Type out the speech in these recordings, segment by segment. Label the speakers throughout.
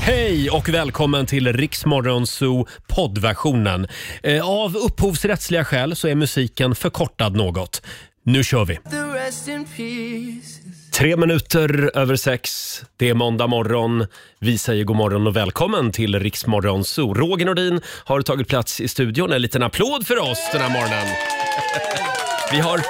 Speaker 1: Hej och välkommen till Riksmorgon Zoo poddversionen. Eh, Av upphovsrättsliga skäl så är musiken förkortad något. Nu kör vi! Tre minuter över sex. Det är måndag morgon. Vi säger god morgon och välkommen till Riksmorgon Zoo. Roger Nordin har tagit plats i studion. En liten applåd för oss den här morgonen. Vi har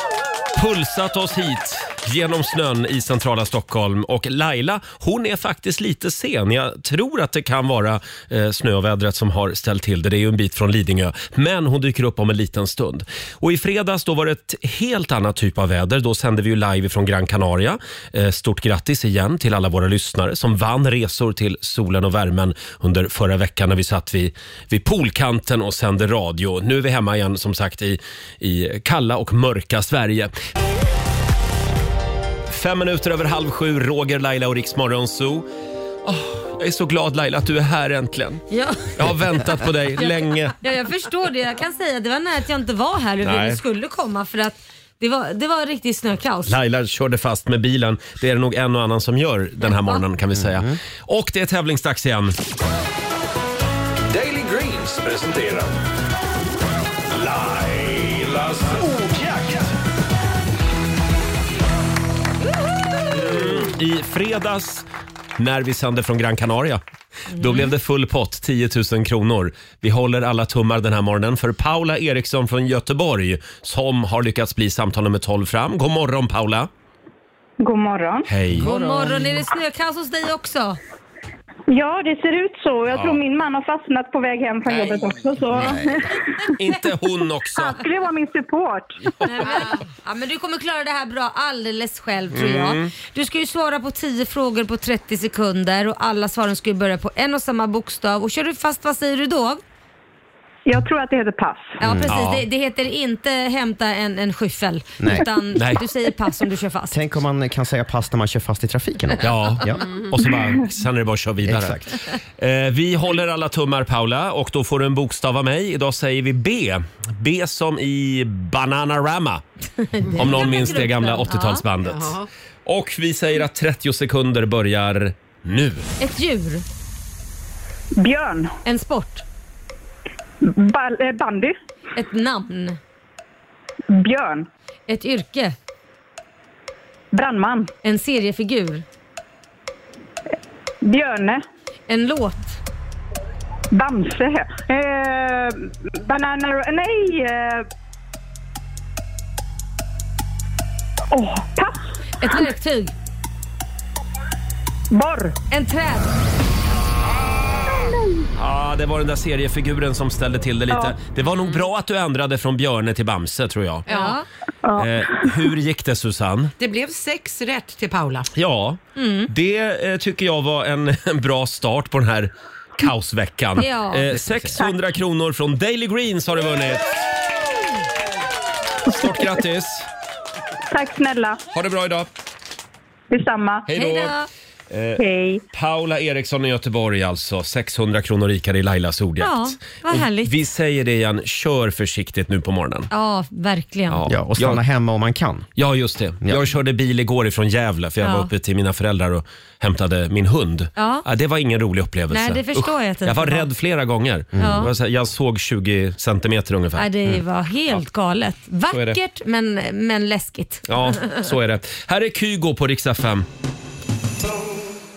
Speaker 1: pulsat oss hit genom snön i centrala Stockholm och Laila, hon är faktiskt lite sen. Jag tror att det kan vara eh, snövädret som har ställt till det. Det är ju en bit från Lidingö, men hon dyker upp om en liten stund. Och i fredags då var det ett helt annat typ av väder. Då sände vi ju live från Gran Canaria. Eh, stort grattis igen till alla våra lyssnare som vann resor till solen och värmen under förra veckan när vi satt vid, vid poolkanten och sände radio. Nu är vi hemma igen som sagt i, i kalla och mörka Sverige. Fem minuter över halv sju, Roger, Laila och Riksmorgon Zoo. Åh, jag är så glad Laila att du är här äntligen.
Speaker 2: Ja.
Speaker 1: Jag har väntat på dig länge.
Speaker 2: Ja, jag förstår det. Jag kan säga det var när att jag inte var här när
Speaker 1: Nej.
Speaker 2: du skulle komma för att det var, det var riktigt snökaos.
Speaker 1: Laila körde fast med bilen. Det är det nog en och annan som gör den här morgonen kan vi säga. Och det är tävlingsdags igen.
Speaker 3: Daily Greens presenterar Lailas ordjakt.
Speaker 1: I fredags när vi sände från Gran Canaria. Då blev det full pott, 10 000 kronor. Vi håller alla tummar den här morgonen för Paula Eriksson från Göteborg som har lyckats bli samtal nummer 12 fram. God morgon Paula!
Speaker 4: God morgon.
Speaker 1: Hej!
Speaker 2: God morgon, är det snökaos hos dig också?
Speaker 4: Ja, det ser ut så. Jag tror min man har fastnat på väg hem från jobbet också. Så.
Speaker 1: Inte hon också!
Speaker 4: Han skulle vara min support.
Speaker 2: Nej, men, ja, men du kommer klara det här bra alldeles själv tror
Speaker 1: Mm.
Speaker 2: jag. Du ska ju svara på 10 frågor på 30 sekunder och alla svaren ska ju börja på en och samma bokstav. Och kör du fast, vad säger du då?
Speaker 4: Jag tror att det heter pass.
Speaker 2: Ja precis,
Speaker 1: Mm. Ja.
Speaker 2: Det, det heter inte hämta en, en skyffel.
Speaker 5: Nej.
Speaker 2: Utan
Speaker 1: Nej.
Speaker 2: du säger pass om du kör fast.
Speaker 5: Tänk om man kan säga pass när man kör fast i trafiken också.
Speaker 1: Ja, Mm.
Speaker 5: Ja.
Speaker 1: och så bara, sen är det bara att köra vidare.
Speaker 5: Exakt.
Speaker 1: Eh, vi håller alla tummar Paula och då får du en bokstav av mig. Idag säger vi B. B som i Bananarama. Om någon minns det gamla 80-talsbandet. Och vi säger att 30 sekunder börjar nu.
Speaker 2: Ett djur,
Speaker 4: Björn.
Speaker 2: en sport,
Speaker 4: Bal- eh, bandy.
Speaker 2: ett namn,
Speaker 4: Björn.
Speaker 2: ett yrke,
Speaker 4: Brandman.
Speaker 2: en seriefigur,
Speaker 4: Björne.
Speaker 2: en låt,
Speaker 4: Bamse. Eh, banana... Nej! eh. Åh, pass!
Speaker 2: ett verktyg,
Speaker 4: Borr.
Speaker 2: en träd.
Speaker 1: Ja, det var den där seriefiguren som ställde till det lite.
Speaker 4: Ja.
Speaker 1: Det var nog bra att du ändrade från Björne till Bamse tror jag.
Speaker 6: Ja.
Speaker 1: Eh, hur gick det Susanne?
Speaker 6: Det blev sex rätt till Paula.
Speaker 1: Ja,
Speaker 2: Mm.
Speaker 1: det eh, tycker jag var en, en bra start på den här kaosveckan.
Speaker 2: Ja.
Speaker 1: Eh, 600 kronor från Daily Greens har du vunnit. Stort grattis!
Speaker 4: Tack snälla.
Speaker 1: Ha det bra idag.
Speaker 4: Detsamma.
Speaker 1: Hej
Speaker 2: Hej
Speaker 1: då!
Speaker 2: då!
Speaker 4: Hej.
Speaker 1: Paula Eriksson i Göteborg alltså. 600 kronor rikare i Lailas ordjakt.
Speaker 2: Ja, vad
Speaker 1: Och
Speaker 2: härligt.
Speaker 1: Vi säger det igen, kör försiktigt nu på morgonen.
Speaker 2: Ja, verkligen.
Speaker 5: Ja, och stanna
Speaker 1: jag,
Speaker 5: hemma om man kan.
Speaker 1: ja, just det. Jag körde bil igår ifrån Gävle för jag
Speaker 2: Ja.
Speaker 1: var uppe till mina föräldrar och hämtade min hund.
Speaker 2: Ja.
Speaker 1: det var ingen rolig upplevelse.
Speaker 2: Nej, det förstår jag att det
Speaker 1: Jag
Speaker 2: inte
Speaker 1: var
Speaker 2: var.
Speaker 1: rädd flera gånger.
Speaker 2: Ja.
Speaker 1: Det var så här, Jag såg 20 centimeter ungefär.
Speaker 2: Nej, det var helt galet.
Speaker 1: Mm. är det.
Speaker 2: Vackert men, men läskigt.
Speaker 1: Ja, så är det. Här är Kygo på riksdag 5.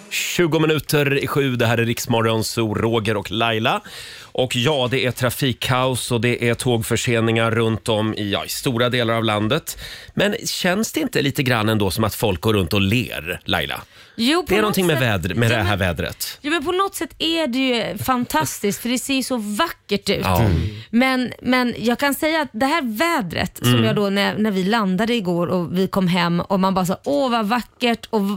Speaker 1: 20 minuter i sju, det här är Riksmorgon, så Roger och Laila. Och ja, det är trafikkaos och det är tågförseningar runt om i, ja, i stora delar av landet. Men känns det inte lite grann ändå som att folk går runt och ler, Laila?
Speaker 2: Jo, på
Speaker 1: Det är
Speaker 2: något
Speaker 1: någonting med,
Speaker 2: sätt-
Speaker 1: väder, med
Speaker 2: Ja,
Speaker 1: det här
Speaker 2: men-
Speaker 1: vädret.
Speaker 2: Ja, men på något sätt är det ju fantastiskt för det ser ju så vackert ut.
Speaker 1: Ja.
Speaker 2: Men, men jag kan säga att det här vädret som jag då när, när vi landade igår och vi kom hem och man bara sa åh vad vackert och v-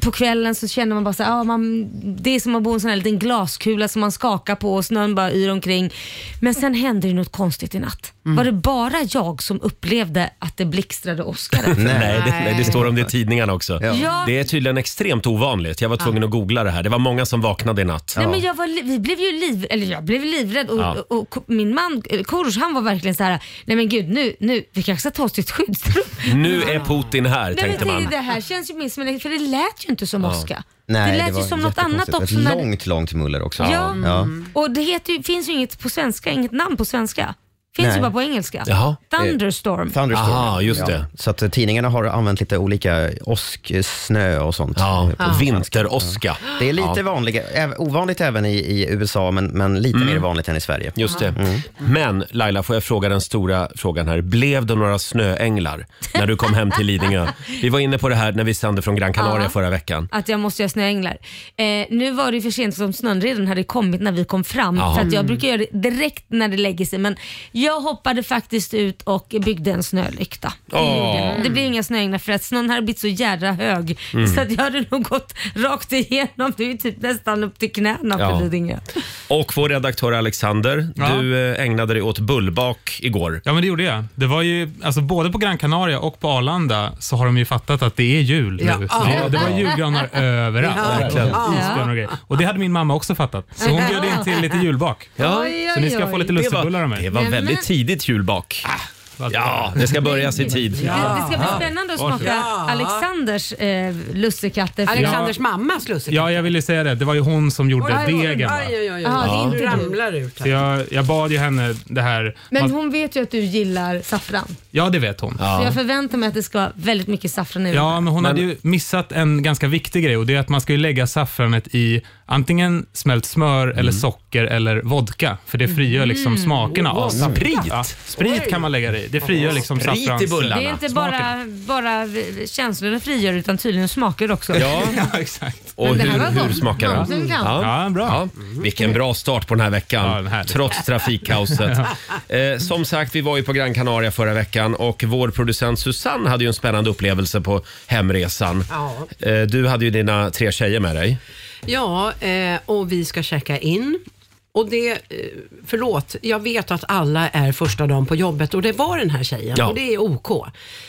Speaker 2: på kvällen så känner man bara så här, "Ah, man, det är som att bo i en sån här liten glaskula som man skakar på och snön bara yr omkring. Men sen hände det något konstigt i natt. Var det bara jag som upplevde att det blixtrade åskare?
Speaker 1: Nej, det, nej, det står om det i tidningarna också.
Speaker 2: Ja.
Speaker 1: Det är tydligen extremt ovanligt. Jag var tvungen att googla det här. Det var många som vaknade i natt.
Speaker 2: Nej, men jag var, li- vi blev ju liv, eller jag blev livrädd och,
Speaker 1: Ja.
Speaker 2: och, ko- min man eh, Korosh han var verkligen så här: nej men gud nu, nu vi kanske ska ta oss till ett skyddsrum.
Speaker 1: Nu är Putin här,
Speaker 2: Nej, men
Speaker 1: tänkte
Speaker 2: jag
Speaker 1: man.
Speaker 2: tänkte, det här känns ju minst som en, för det lät lät ju inte som åska.
Speaker 5: Nej,
Speaker 2: det lät ju
Speaker 5: var
Speaker 2: som något annat
Speaker 5: jättekonstigt.
Speaker 2: också.
Speaker 5: Ett
Speaker 2: när-
Speaker 5: långt, långt muller också.
Speaker 2: Ja. Och det heter ju, finns ju inget på svenska, inget namn på svenska. Finns
Speaker 5: Nej.
Speaker 2: ju bara på engelska.
Speaker 1: Jaha.
Speaker 2: Thunderstorm.
Speaker 5: Thunderstorm.
Speaker 1: Aha, just det.
Speaker 5: Så att eh, tidningarna har använt lite olika åsk, eh, snö och sånt.
Speaker 1: Ja,
Speaker 5: Eh, på-
Speaker 1: vinteråska.
Speaker 5: Det är lite vanliga, äv- ovanligt även i, i USA, men, men lite mer vanligt än i Sverige.
Speaker 1: Just det. Men Laila, får jag fråga den stora frågan här. Blev det några snöänglar när du kom hem till Lidingö? Vi var inne på det här när vi sände från Gran Canaria
Speaker 2: Ja.
Speaker 1: förra veckan.
Speaker 2: Att jag måste göra snöänglar. Eh, nu var det ju för sent som snön redan hade kommit när vi kom fram.
Speaker 1: Jaha.
Speaker 2: För att jag brukar göra det direkt när det lägger sig. Men jag hoppade faktiskt ut och byggde en snölykta. Det
Speaker 1: Åh.
Speaker 2: gjorde jag. Det blev inga snöänglar för att snön hade blivit så jädra hög. Så att jag hade nog gått rakt igenom. Det är ju typ nästan upp till knäna
Speaker 1: Ja.
Speaker 2: på Lidingö.
Speaker 1: Och vår redaktör Alexander,
Speaker 7: Ja.
Speaker 1: du eh, ägnade dig åt bullbak igår.
Speaker 7: Ja, men det gjorde jag. Det var ju, alltså, både på Gran Canaria och på Arlanda så har de ju fattat att det är jul
Speaker 6: Ja.
Speaker 7: nu. Det, det var julgranar överallt.
Speaker 6: Ja.
Speaker 7: verkligen.
Speaker 6: Ja.
Speaker 7: Isbjörn och grejer. Och det hade min mamma också fattat. Så hon bjöd in till lite julbak.
Speaker 1: Ja,
Speaker 7: Så ni ska få lite
Speaker 1: det
Speaker 7: lussebullar av
Speaker 1: var, det
Speaker 7: mig.
Speaker 1: var
Speaker 2: Nej, men-
Speaker 1: väldigt tidigt julbak.
Speaker 7: Vad-
Speaker 1: Ja, det ska börjas i tid.
Speaker 2: Det, det ska bli spännande att smaka
Speaker 6: Ja.
Speaker 2: Alexanders eh, lussekatter. för-
Speaker 6: Alexanders mammas lussekalj.
Speaker 7: ja, jag ville säga det. Det var ju hon som gjorde degen. Va?
Speaker 6: Aj, aj, aj, aj.
Speaker 2: Ja, det är
Speaker 6: Du
Speaker 2: inte du.
Speaker 6: ramlar ut
Speaker 7: Så
Speaker 6: här.
Speaker 7: jag, jag bad ju henne det här.
Speaker 2: Men
Speaker 7: Man-
Speaker 2: hon vet ju att du gillar saffran.
Speaker 7: Ja, det vet hon.
Speaker 2: Så jag förväntar mig att det ska vara väldigt mycket saffran i
Speaker 7: Ja, men hon hade ju missat en ganska viktig grej och det är att man ska ju lägga saffranet i antingen smält smör
Speaker 1: Mm.
Speaker 7: eller socker eller vodka. För det frigör liksom smakerna av saffran.
Speaker 1: Sprit.
Speaker 7: Ja, sprit kan man lägga det i. Det frigör liksom
Speaker 1: Sprit i
Speaker 7: saffrans...
Speaker 1: bullarna.
Speaker 2: Det är inte bara,
Speaker 7: Smakerna.
Speaker 2: bara känslorna frigör utan tydligen smaker också.
Speaker 1: Ja,
Speaker 7: Ja, exakt.
Speaker 1: och
Speaker 2: Men det här var
Speaker 1: hur, hur
Speaker 2: gott.
Speaker 1: smakar den?
Speaker 2: Mamsen kan.
Speaker 7: Ja, bra.
Speaker 1: Ja, vilken bra start på den här
Speaker 7: Ja,
Speaker 1: veckan,
Speaker 7: den här.
Speaker 1: trots trafikkaoset. Eh, som sagt, vi var ju på Gran Canaria förra veckan och vår producent Susanne hade ju en spännande upplevelse på hemresan.
Speaker 6: Ja.
Speaker 1: Eh, du hade ju dina tre tjejer med dig.
Speaker 6: Ja, eh, och vi ska checka in. Och det, eh, förlåt, jag vet att alla är första dagen på jobbet och det var den här tjejen
Speaker 1: Ja.
Speaker 6: och det är OK.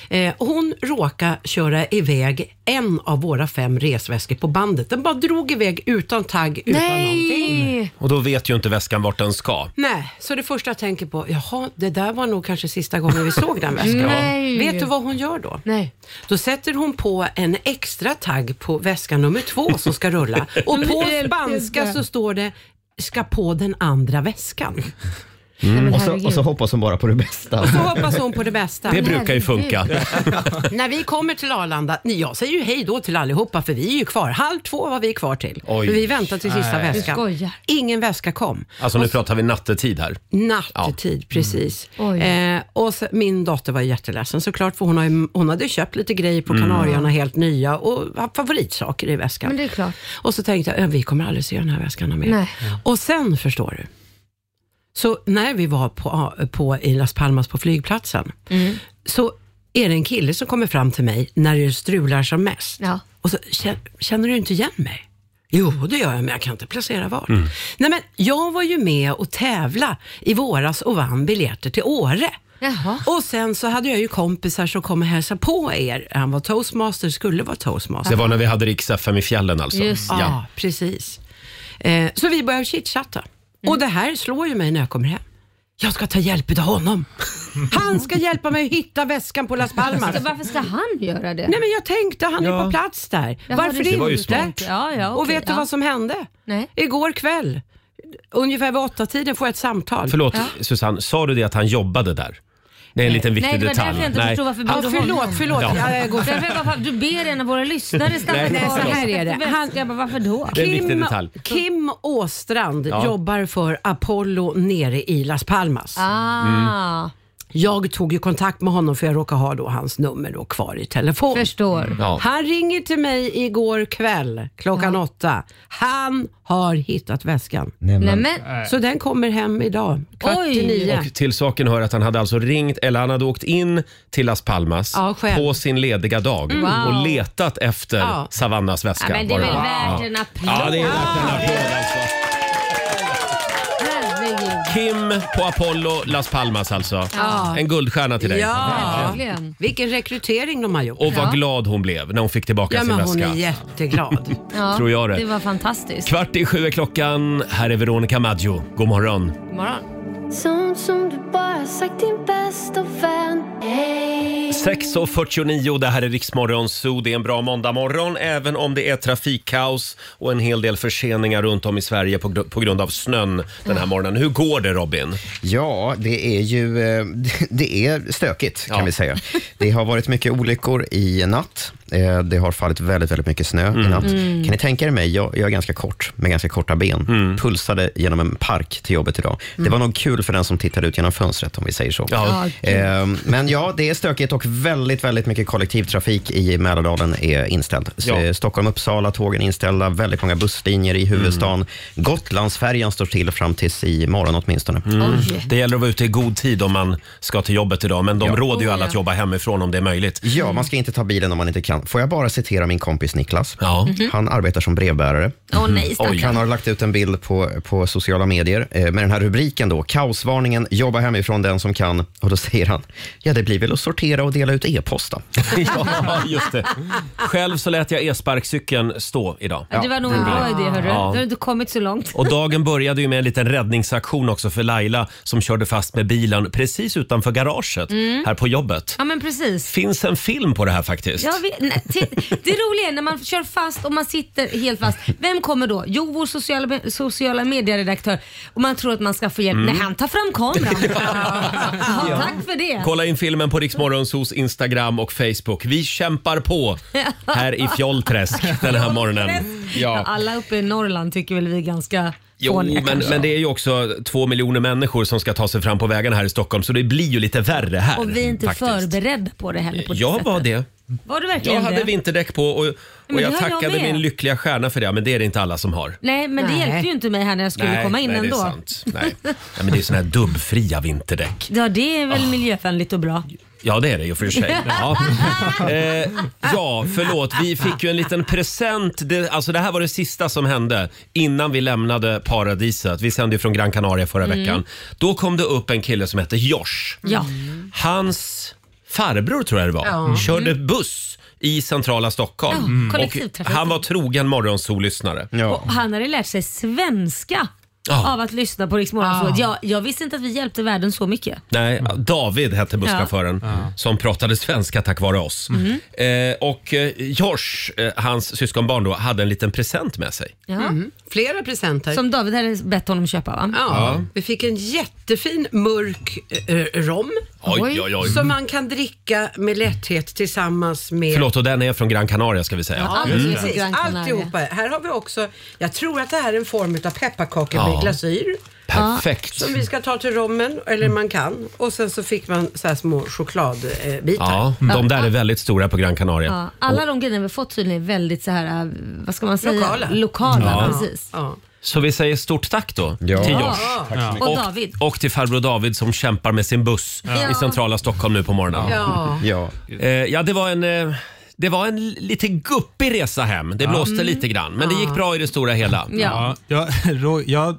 Speaker 6: Eh, hon råkade köra iväg en av våra fem resväskor på bandet. Den bara drog iväg utan tagg, utan någonting.
Speaker 2: Nej!
Speaker 1: Och då vet ju inte väskan vart den ska.
Speaker 6: Nej, så det första jag tänker på, jaha, det där var nog kanske sista gången vi såg den väskan.
Speaker 2: Nej.
Speaker 6: Vet du vad hon gör då?
Speaker 2: Nej.
Speaker 6: Då sätter hon på en extra tagg på väska nummer två som ska rulla. Och på
Speaker 2: Hjälp,
Speaker 6: spanska
Speaker 2: hjälp.
Speaker 6: så står det ska på den andra väskan.
Speaker 2: Nej, men
Speaker 1: Mm.
Speaker 5: Och, så, och så
Speaker 2: herregud.
Speaker 5: hoppas hon bara på det bästa.
Speaker 6: Så hoppas hon på det bästa.
Speaker 1: Det brukar ju funka.
Speaker 6: När vi kommer till Arlanda, nej, jag säger ju hej då till allihopa för vi är ju kvar. Halv två var vi kvar till.
Speaker 1: Oj.
Speaker 6: För vi väntar till sista
Speaker 7: Nej.
Speaker 2: Du
Speaker 6: väskan.
Speaker 2: skojar.
Speaker 6: Ingen väska kom.
Speaker 1: Alltså nu pratar vi nattetid här.
Speaker 6: Nattetid, precis.
Speaker 2: Mm. Oj.
Speaker 6: Eh, och så, min dotter var jätteledsen såklart, för hon, har, ju- hon hade ju köpt lite grejer på Kanarierna, helt nya och haft favoritsaker i väskan.
Speaker 2: Men det är klart.
Speaker 6: Och så tänkte jag, "Ja, vi kommer aldrig se den här väskan mer.
Speaker 2: Nej.
Speaker 6: Och sen, förstår du, så när vi var på, på, i Las Palmas på flygplatsen,
Speaker 2: Mm.
Speaker 6: så är det en kille som kommer fram till mig när det strular som mest.
Speaker 2: Ja.
Speaker 6: Och så, "Kä- känner du inte igen mig? Jo, det gör jag, men jag kan inte placera var. Nej, men jag var ju med och tävla i våras och vann biljetter till Åre.
Speaker 2: Jaha.
Speaker 6: Och sen så hade jag ju kompisar som kom och hälsade på er. Han var toastmaster, skulle vara
Speaker 1: Det
Speaker 6: toastmaster.
Speaker 1: var när vi hade Rix FM i fjällen alltså.
Speaker 2: Just
Speaker 6: Ja,
Speaker 1: Ja.
Speaker 6: precis. Eh, så vi börjar chitchatta. Och det här slår ju mig när jag kommer hem. Jag ska ta hjälp utav honom. Han ska hjälpa mig att hitta väskan på Las Palmas.
Speaker 2: Så varför ska han göra det?
Speaker 6: Nej men jag tänkte, han är på plats där.
Speaker 2: Jaha,
Speaker 6: Varför
Speaker 2: det- Det
Speaker 1: var ju
Speaker 6: inte?
Speaker 1: smart.
Speaker 2: Ja, ja,
Speaker 6: och
Speaker 2: okej,
Speaker 6: vet
Speaker 2: ja.
Speaker 6: du vad som hände?
Speaker 2: Nej.
Speaker 6: Igår kväll, ungefär vid åtta tiden får jag ett samtal.
Speaker 1: Förlåt Susanne, sa du det att han jobbade där? Det är en liten viktig
Speaker 2: Nej, det var
Speaker 1: detalj.
Speaker 2: därför jag inte förstod varför
Speaker 6: Ja,
Speaker 2: bjöd du
Speaker 6: förlåt,
Speaker 2: honom.
Speaker 6: förlåt.
Speaker 1: Ja.
Speaker 6: Jag går
Speaker 2: Därför jag bara, fan, du ber en av våra lyssnare stanna
Speaker 1: Nej,
Speaker 2: kvar.
Speaker 1: nej, så
Speaker 6: här är det.
Speaker 2: Han, jag bara, varför då?
Speaker 1: Det är en viktig detalj.
Speaker 6: Kim Åstrand
Speaker 1: Ja.
Speaker 6: jobbar för Apollo nere i Las Palmas.
Speaker 2: Ah,
Speaker 6: Jag tog ju kontakt med honom för jag råkar ha då hans nummer då kvar i
Speaker 1: Mm.
Speaker 6: telefon.
Speaker 2: förstår.
Speaker 1: Ja.
Speaker 6: Han ringer till mig igår kväll klockan åtta. Han har hittat väskan.
Speaker 2: Nej, men,
Speaker 6: Så den kommer hem idag, kvart
Speaker 2: Oj.
Speaker 6: till nio.
Speaker 1: Och till saken hör att han hade alltså ringt, eller han hade åkt in till Las Palmas
Speaker 6: Ja, själv.
Speaker 1: på sin lediga dag och
Speaker 2: Mm. Wow.
Speaker 1: letat efter
Speaker 6: Ja.
Speaker 1: Savannas väska.
Speaker 2: ja, men det är
Speaker 1: var
Speaker 2: väl
Speaker 1: det.
Speaker 2: värt
Speaker 1: ja.
Speaker 2: en applåd?
Speaker 1: Ja, det är värt en applåd alltså.
Speaker 2: Herregud.
Speaker 1: Kim på Apollo Las Palmas alltså.
Speaker 6: Ja.
Speaker 1: En guldstjärna till dig.
Speaker 6: Ja,
Speaker 2: Verkligen.
Speaker 6: vilken rekrytering de har gjort.
Speaker 1: Och vad
Speaker 2: Ja.
Speaker 1: glad hon blev när hon fick tillbaka
Speaker 6: ja,
Speaker 1: sin
Speaker 6: men hon
Speaker 1: väska.
Speaker 6: är jätteglad.
Speaker 2: Ja,
Speaker 1: Tror jag det.
Speaker 2: Det var fantastiskt.
Speaker 1: Kvart i sju är klockan. Här är Veronica Maggio. God morgon.
Speaker 2: God morgon.
Speaker 8: Sånt som du bara har sagt din bästa vän hej
Speaker 1: 6.49, det här är Riksmorgon Zoo. Det är en bra måndagmorgon, även om det är trafikkaos och en hel del förseningar runt om i Sverige på, gr- på grund av snön den här morgonen. Hur går det Robin?
Speaker 5: Ja, det är ju eh, det är stökigt kan
Speaker 1: Ja.
Speaker 5: vi säga. Det har varit mycket olyckor i natt. Eh, Det har fallit väldigt, väldigt mycket snö
Speaker 1: Mm.
Speaker 5: i natt. Kan ni tänka er mig, jag, jag är ganska kort, med ganska korta ben,
Speaker 1: Mm.
Speaker 5: pulsade genom en park till jobbet idag. Det var nog kul för den som tittade ut genom fönstret om vi säger så.
Speaker 1: Ja.
Speaker 5: Eh, Men ja, det är stökigt och väldigt, väldigt mycket kollektivtrafik i Mälardalen är inställd. S-
Speaker 1: Ja.
Speaker 5: eh, Stockholm, Uppsala, tågen är inställda, väldigt många busslinjer i huvudstaden.
Speaker 1: Mm.
Speaker 5: Gotlandsfärjan står still fram tills imorgon åtminstone.
Speaker 1: Mm.
Speaker 2: Oj.
Speaker 1: Det gäller att vara ute i god tid om man ska till jobbet idag, men de råder ju
Speaker 2: Oh,
Speaker 1: alla att jobba hemifrån om det är möjligt.
Speaker 5: Ja, man ska inte ta bilen om man inte kan. Får jag bara citera min kompis Niklas?
Speaker 1: Ja. Mm.
Speaker 5: Han arbetar som brevbärare.
Speaker 2: Åh nej,
Speaker 5: Och han
Speaker 2: stackarn.
Speaker 5: har lagt ut en bild på, på sociala medier eh, med den här rubriken då. Kaosvarningen, jobba hemifrån den som kan. Och då säger han, ja det blir väl att sortera och dela ut e-post då.
Speaker 1: ja, just det. Själv så lät jag e-sparkcykeln stå idag.
Speaker 2: Ja, det var nog en bra idé hörru.
Speaker 1: Mm. Ja.
Speaker 2: Då har du inte kommit så långt.
Speaker 1: Och dagen började ju med en liten räddningsaktion också för Laila som körde fast med bilen precis utanför garaget
Speaker 2: Mm.
Speaker 1: här på jobbet.
Speaker 2: Ja men precis.
Speaker 1: Finns en film på det här faktiskt.
Speaker 2: Jag vet, nej, titt- det roliga är när man kör fast och man sitter helt fast. Vem kommer då? Jo, vår sociala, me- sociala medieredaktör. Och man tror att man ska få hjälp.
Speaker 1: Mm.
Speaker 2: Nej, han tar fram kameran. ja. tack för det.
Speaker 1: Kolla in filmen på Riksmorgonsos Instagram och Facebook. Vi kämpar på här i Fjollträsk den här morgonen.
Speaker 2: Ja.
Speaker 1: Ja.
Speaker 2: Alla uppe i Norrland tycker väl vi är ganska
Speaker 1: Jo,
Speaker 2: fåniga
Speaker 1: men,
Speaker 2: kanske.
Speaker 1: men det är ju också två miljoner människor som ska ta sig fram på vägarna här i Stockholm så det blir ju lite värre här.
Speaker 2: Och vi är inte
Speaker 1: faktiskt.
Speaker 2: förberedda på det heller. På det
Speaker 1: Jag
Speaker 2: sättet.
Speaker 1: var det.
Speaker 2: Var du verkligen
Speaker 1: Jag hade
Speaker 2: det?
Speaker 1: vinterdäck på och, och
Speaker 2: det
Speaker 1: jag
Speaker 2: har jag
Speaker 1: tackade
Speaker 2: med.
Speaker 1: min lyckliga stjärna för det, men det är det inte alla som har.
Speaker 2: Nej, men det
Speaker 6: Nej.
Speaker 2: hjälpte ju inte mig här när jag skulle komma in
Speaker 1: nej,
Speaker 2: ändå.
Speaker 1: Det är sant. Nej. nej, men det är såna här dubbfria vinterdäck.
Speaker 2: Ja, det är väl
Speaker 1: Ah.
Speaker 2: miljövänligt och bra.
Speaker 1: Ja, det är det ju för sig. Ja. Eh, ja, förlåt. Vi fick ju en liten present. Det, alltså, det här var det sista som hände innan vi lämnade paradiset. Vi sände ju från Gran Canaria förra veckan. Då kom det upp en kille som hette Josh.
Speaker 2: Mm. Ja.
Speaker 1: Hans farbror tror jag det var, körde buss i centrala Stockholm.
Speaker 2: Mm. Ja,
Speaker 1: Och
Speaker 2: kollektivtrafik.
Speaker 1: han var trogen morgonsollyssnare.
Speaker 5: Ja.
Speaker 2: Och han hade lärt sig svenska
Speaker 1: Ja.
Speaker 2: av att lyssna på Rix Morgonzoo. Ja, jag visste inte att vi hjälpte världen så mycket.
Speaker 1: Nej,
Speaker 2: Mm.
Speaker 1: David hette busschauffören som pratade svenska tack vare oss.
Speaker 2: Mm.
Speaker 1: Eh, och eh, Josh, eh, hans syskonbarn då, hade en liten present med sig.
Speaker 2: Ja.
Speaker 6: Flera presenter.
Speaker 2: Mm. Som David hade bett honom köpa va?
Speaker 6: Ja, Vi fick en jättefin mörk eh, rom
Speaker 1: Oj,
Speaker 2: Oj.
Speaker 1: oj, oj.
Speaker 6: som man kan dricka med lätthet tillsammans med
Speaker 1: Förlåt, och den är från Gran Canaria ska vi säga.
Speaker 2: Ja.
Speaker 6: Mm.
Speaker 2: Precis,
Speaker 6: Precis,
Speaker 2: Gran Canaria.
Speaker 6: alltihopa. Här har vi också, jag tror att det här är en form av pepparkakor
Speaker 1: Ja.
Speaker 6: med glasyr.
Speaker 1: Perfekt.
Speaker 6: Som vi ska ta till rommen, eller man kan. Och sen så fick man så här små chokladbitar.
Speaker 1: Ja, de där är väldigt stora på Gran Canaria.
Speaker 2: Ja, alla de grejerna vi fått tydligen är väldigt så här, äh, vad ska man säga?
Speaker 6: Lokala.
Speaker 2: Lokala,
Speaker 1: Ja.
Speaker 2: precis.
Speaker 6: Ja.
Speaker 1: Så vi säger stort tack då
Speaker 5: Ja.
Speaker 1: till
Speaker 2: Ja.
Speaker 1: Josh.
Speaker 2: Och David.
Speaker 1: Och till farbror David som kämpar med sin buss
Speaker 2: Ja.
Speaker 1: i centrala Stockholm nu på morgonen. Ja,
Speaker 6: Ja.
Speaker 5: Ja.
Speaker 1: eh, ja det var en... Eh, det var en lite guppig resa hem. Det blåste lite grann, men det gick bra i det stora hela.
Speaker 2: Ja.
Speaker 7: Ja, jag, Ro- jag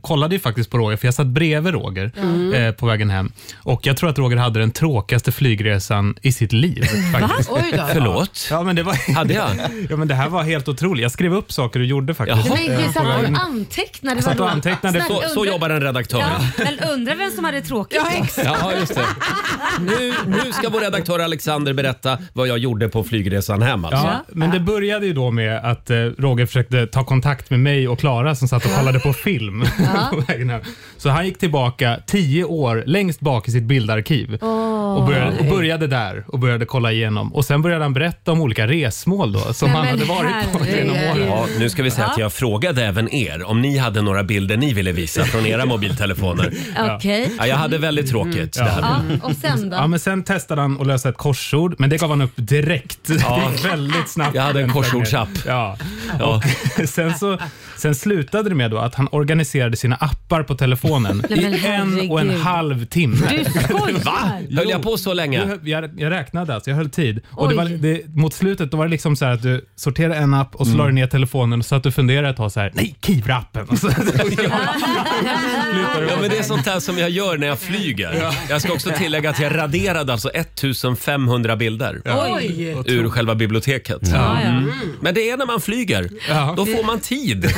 Speaker 7: kollade ju faktiskt på Roger, för jag satt bredvid Roger
Speaker 1: Mm.
Speaker 7: eh, på vägen hem. Och Jag tror att Roger hade den tråkigaste flygresan i sitt liv. Faktiskt.
Speaker 6: Oj då.
Speaker 1: Förlåt?
Speaker 7: Ja, men det var,
Speaker 1: Hade jag?
Speaker 7: ja, men det här var helt otroligt. Jag skrev upp saker du gjorde faktiskt.
Speaker 1: Jaha.
Speaker 2: Men gud, satt han och antecknade?
Speaker 7: Satt och
Speaker 2: vadå?
Speaker 7: antecknade.
Speaker 2: Snack-
Speaker 1: Så, så
Speaker 2: undra-
Speaker 1: jobbar en redaktör.
Speaker 2: Ja,
Speaker 1: Ja.
Speaker 2: men undrar vem som hade tråkigt.
Speaker 1: just det. Nu, nu ska vår redaktör Alexander berätta vad jag gjorde på flygresan hem. Alltså.
Speaker 7: Ja, men det började ju då med att eh, Roger försökte ta kontakt med mig och Klara som satt och kollade på film. på vägen hem. Så han gick tillbaka tio år längst bak i sitt bildarkiv och, började, och började där och började kolla igenom. Och Sen började han berätta om olika resmål då, som
Speaker 2: Nej,
Speaker 7: han
Speaker 2: men
Speaker 7: hade varit på genom
Speaker 2: herregud.
Speaker 7: åren.
Speaker 1: Ja, nu ska vi säga att jag frågade även er om ni hade några bilder ni ville visa från era mobiltelefoner.
Speaker 2: Okej.
Speaker 1: Ja, jag hade väldigt tråkigt. Det här.
Speaker 2: Ja, och sen då?
Speaker 7: Ja, men sen testade han att lösa ett korsord, men det gav han upp direkt. Det gick väldigt snabbt.
Speaker 1: Jag hade en korsordsapp.
Speaker 7: Ja.
Speaker 1: Ja.
Speaker 7: Sen, så, sen slutade det med då att han organiserade sina appar på telefonen
Speaker 2: Nej, men
Speaker 7: i en och en
Speaker 2: herregud.
Speaker 7: halv timme.
Speaker 2: Du skojar? Va?
Speaker 1: Höll jag på så länge?
Speaker 7: Jag, jag, jag räknade alltså, jag höll tid. Och det
Speaker 2: Oj.
Speaker 7: var, det, mot slutet då var det liksom så här att du sorterade en app och så
Speaker 1: Mm.
Speaker 7: la du ner telefonen och så att du funderade ett tag så här, nej, Kivra-appen. Och så-
Speaker 1: Ja, men det är sånt där som jag gör när jag flyger. Jag ska också tillägga att jag raderade alltså 1500 bilder
Speaker 2: Oj.
Speaker 1: ur själva biblioteket.
Speaker 2: Mm. Ja, ja.
Speaker 1: Men det är när man flyger.
Speaker 7: Ja.
Speaker 1: Då får man tid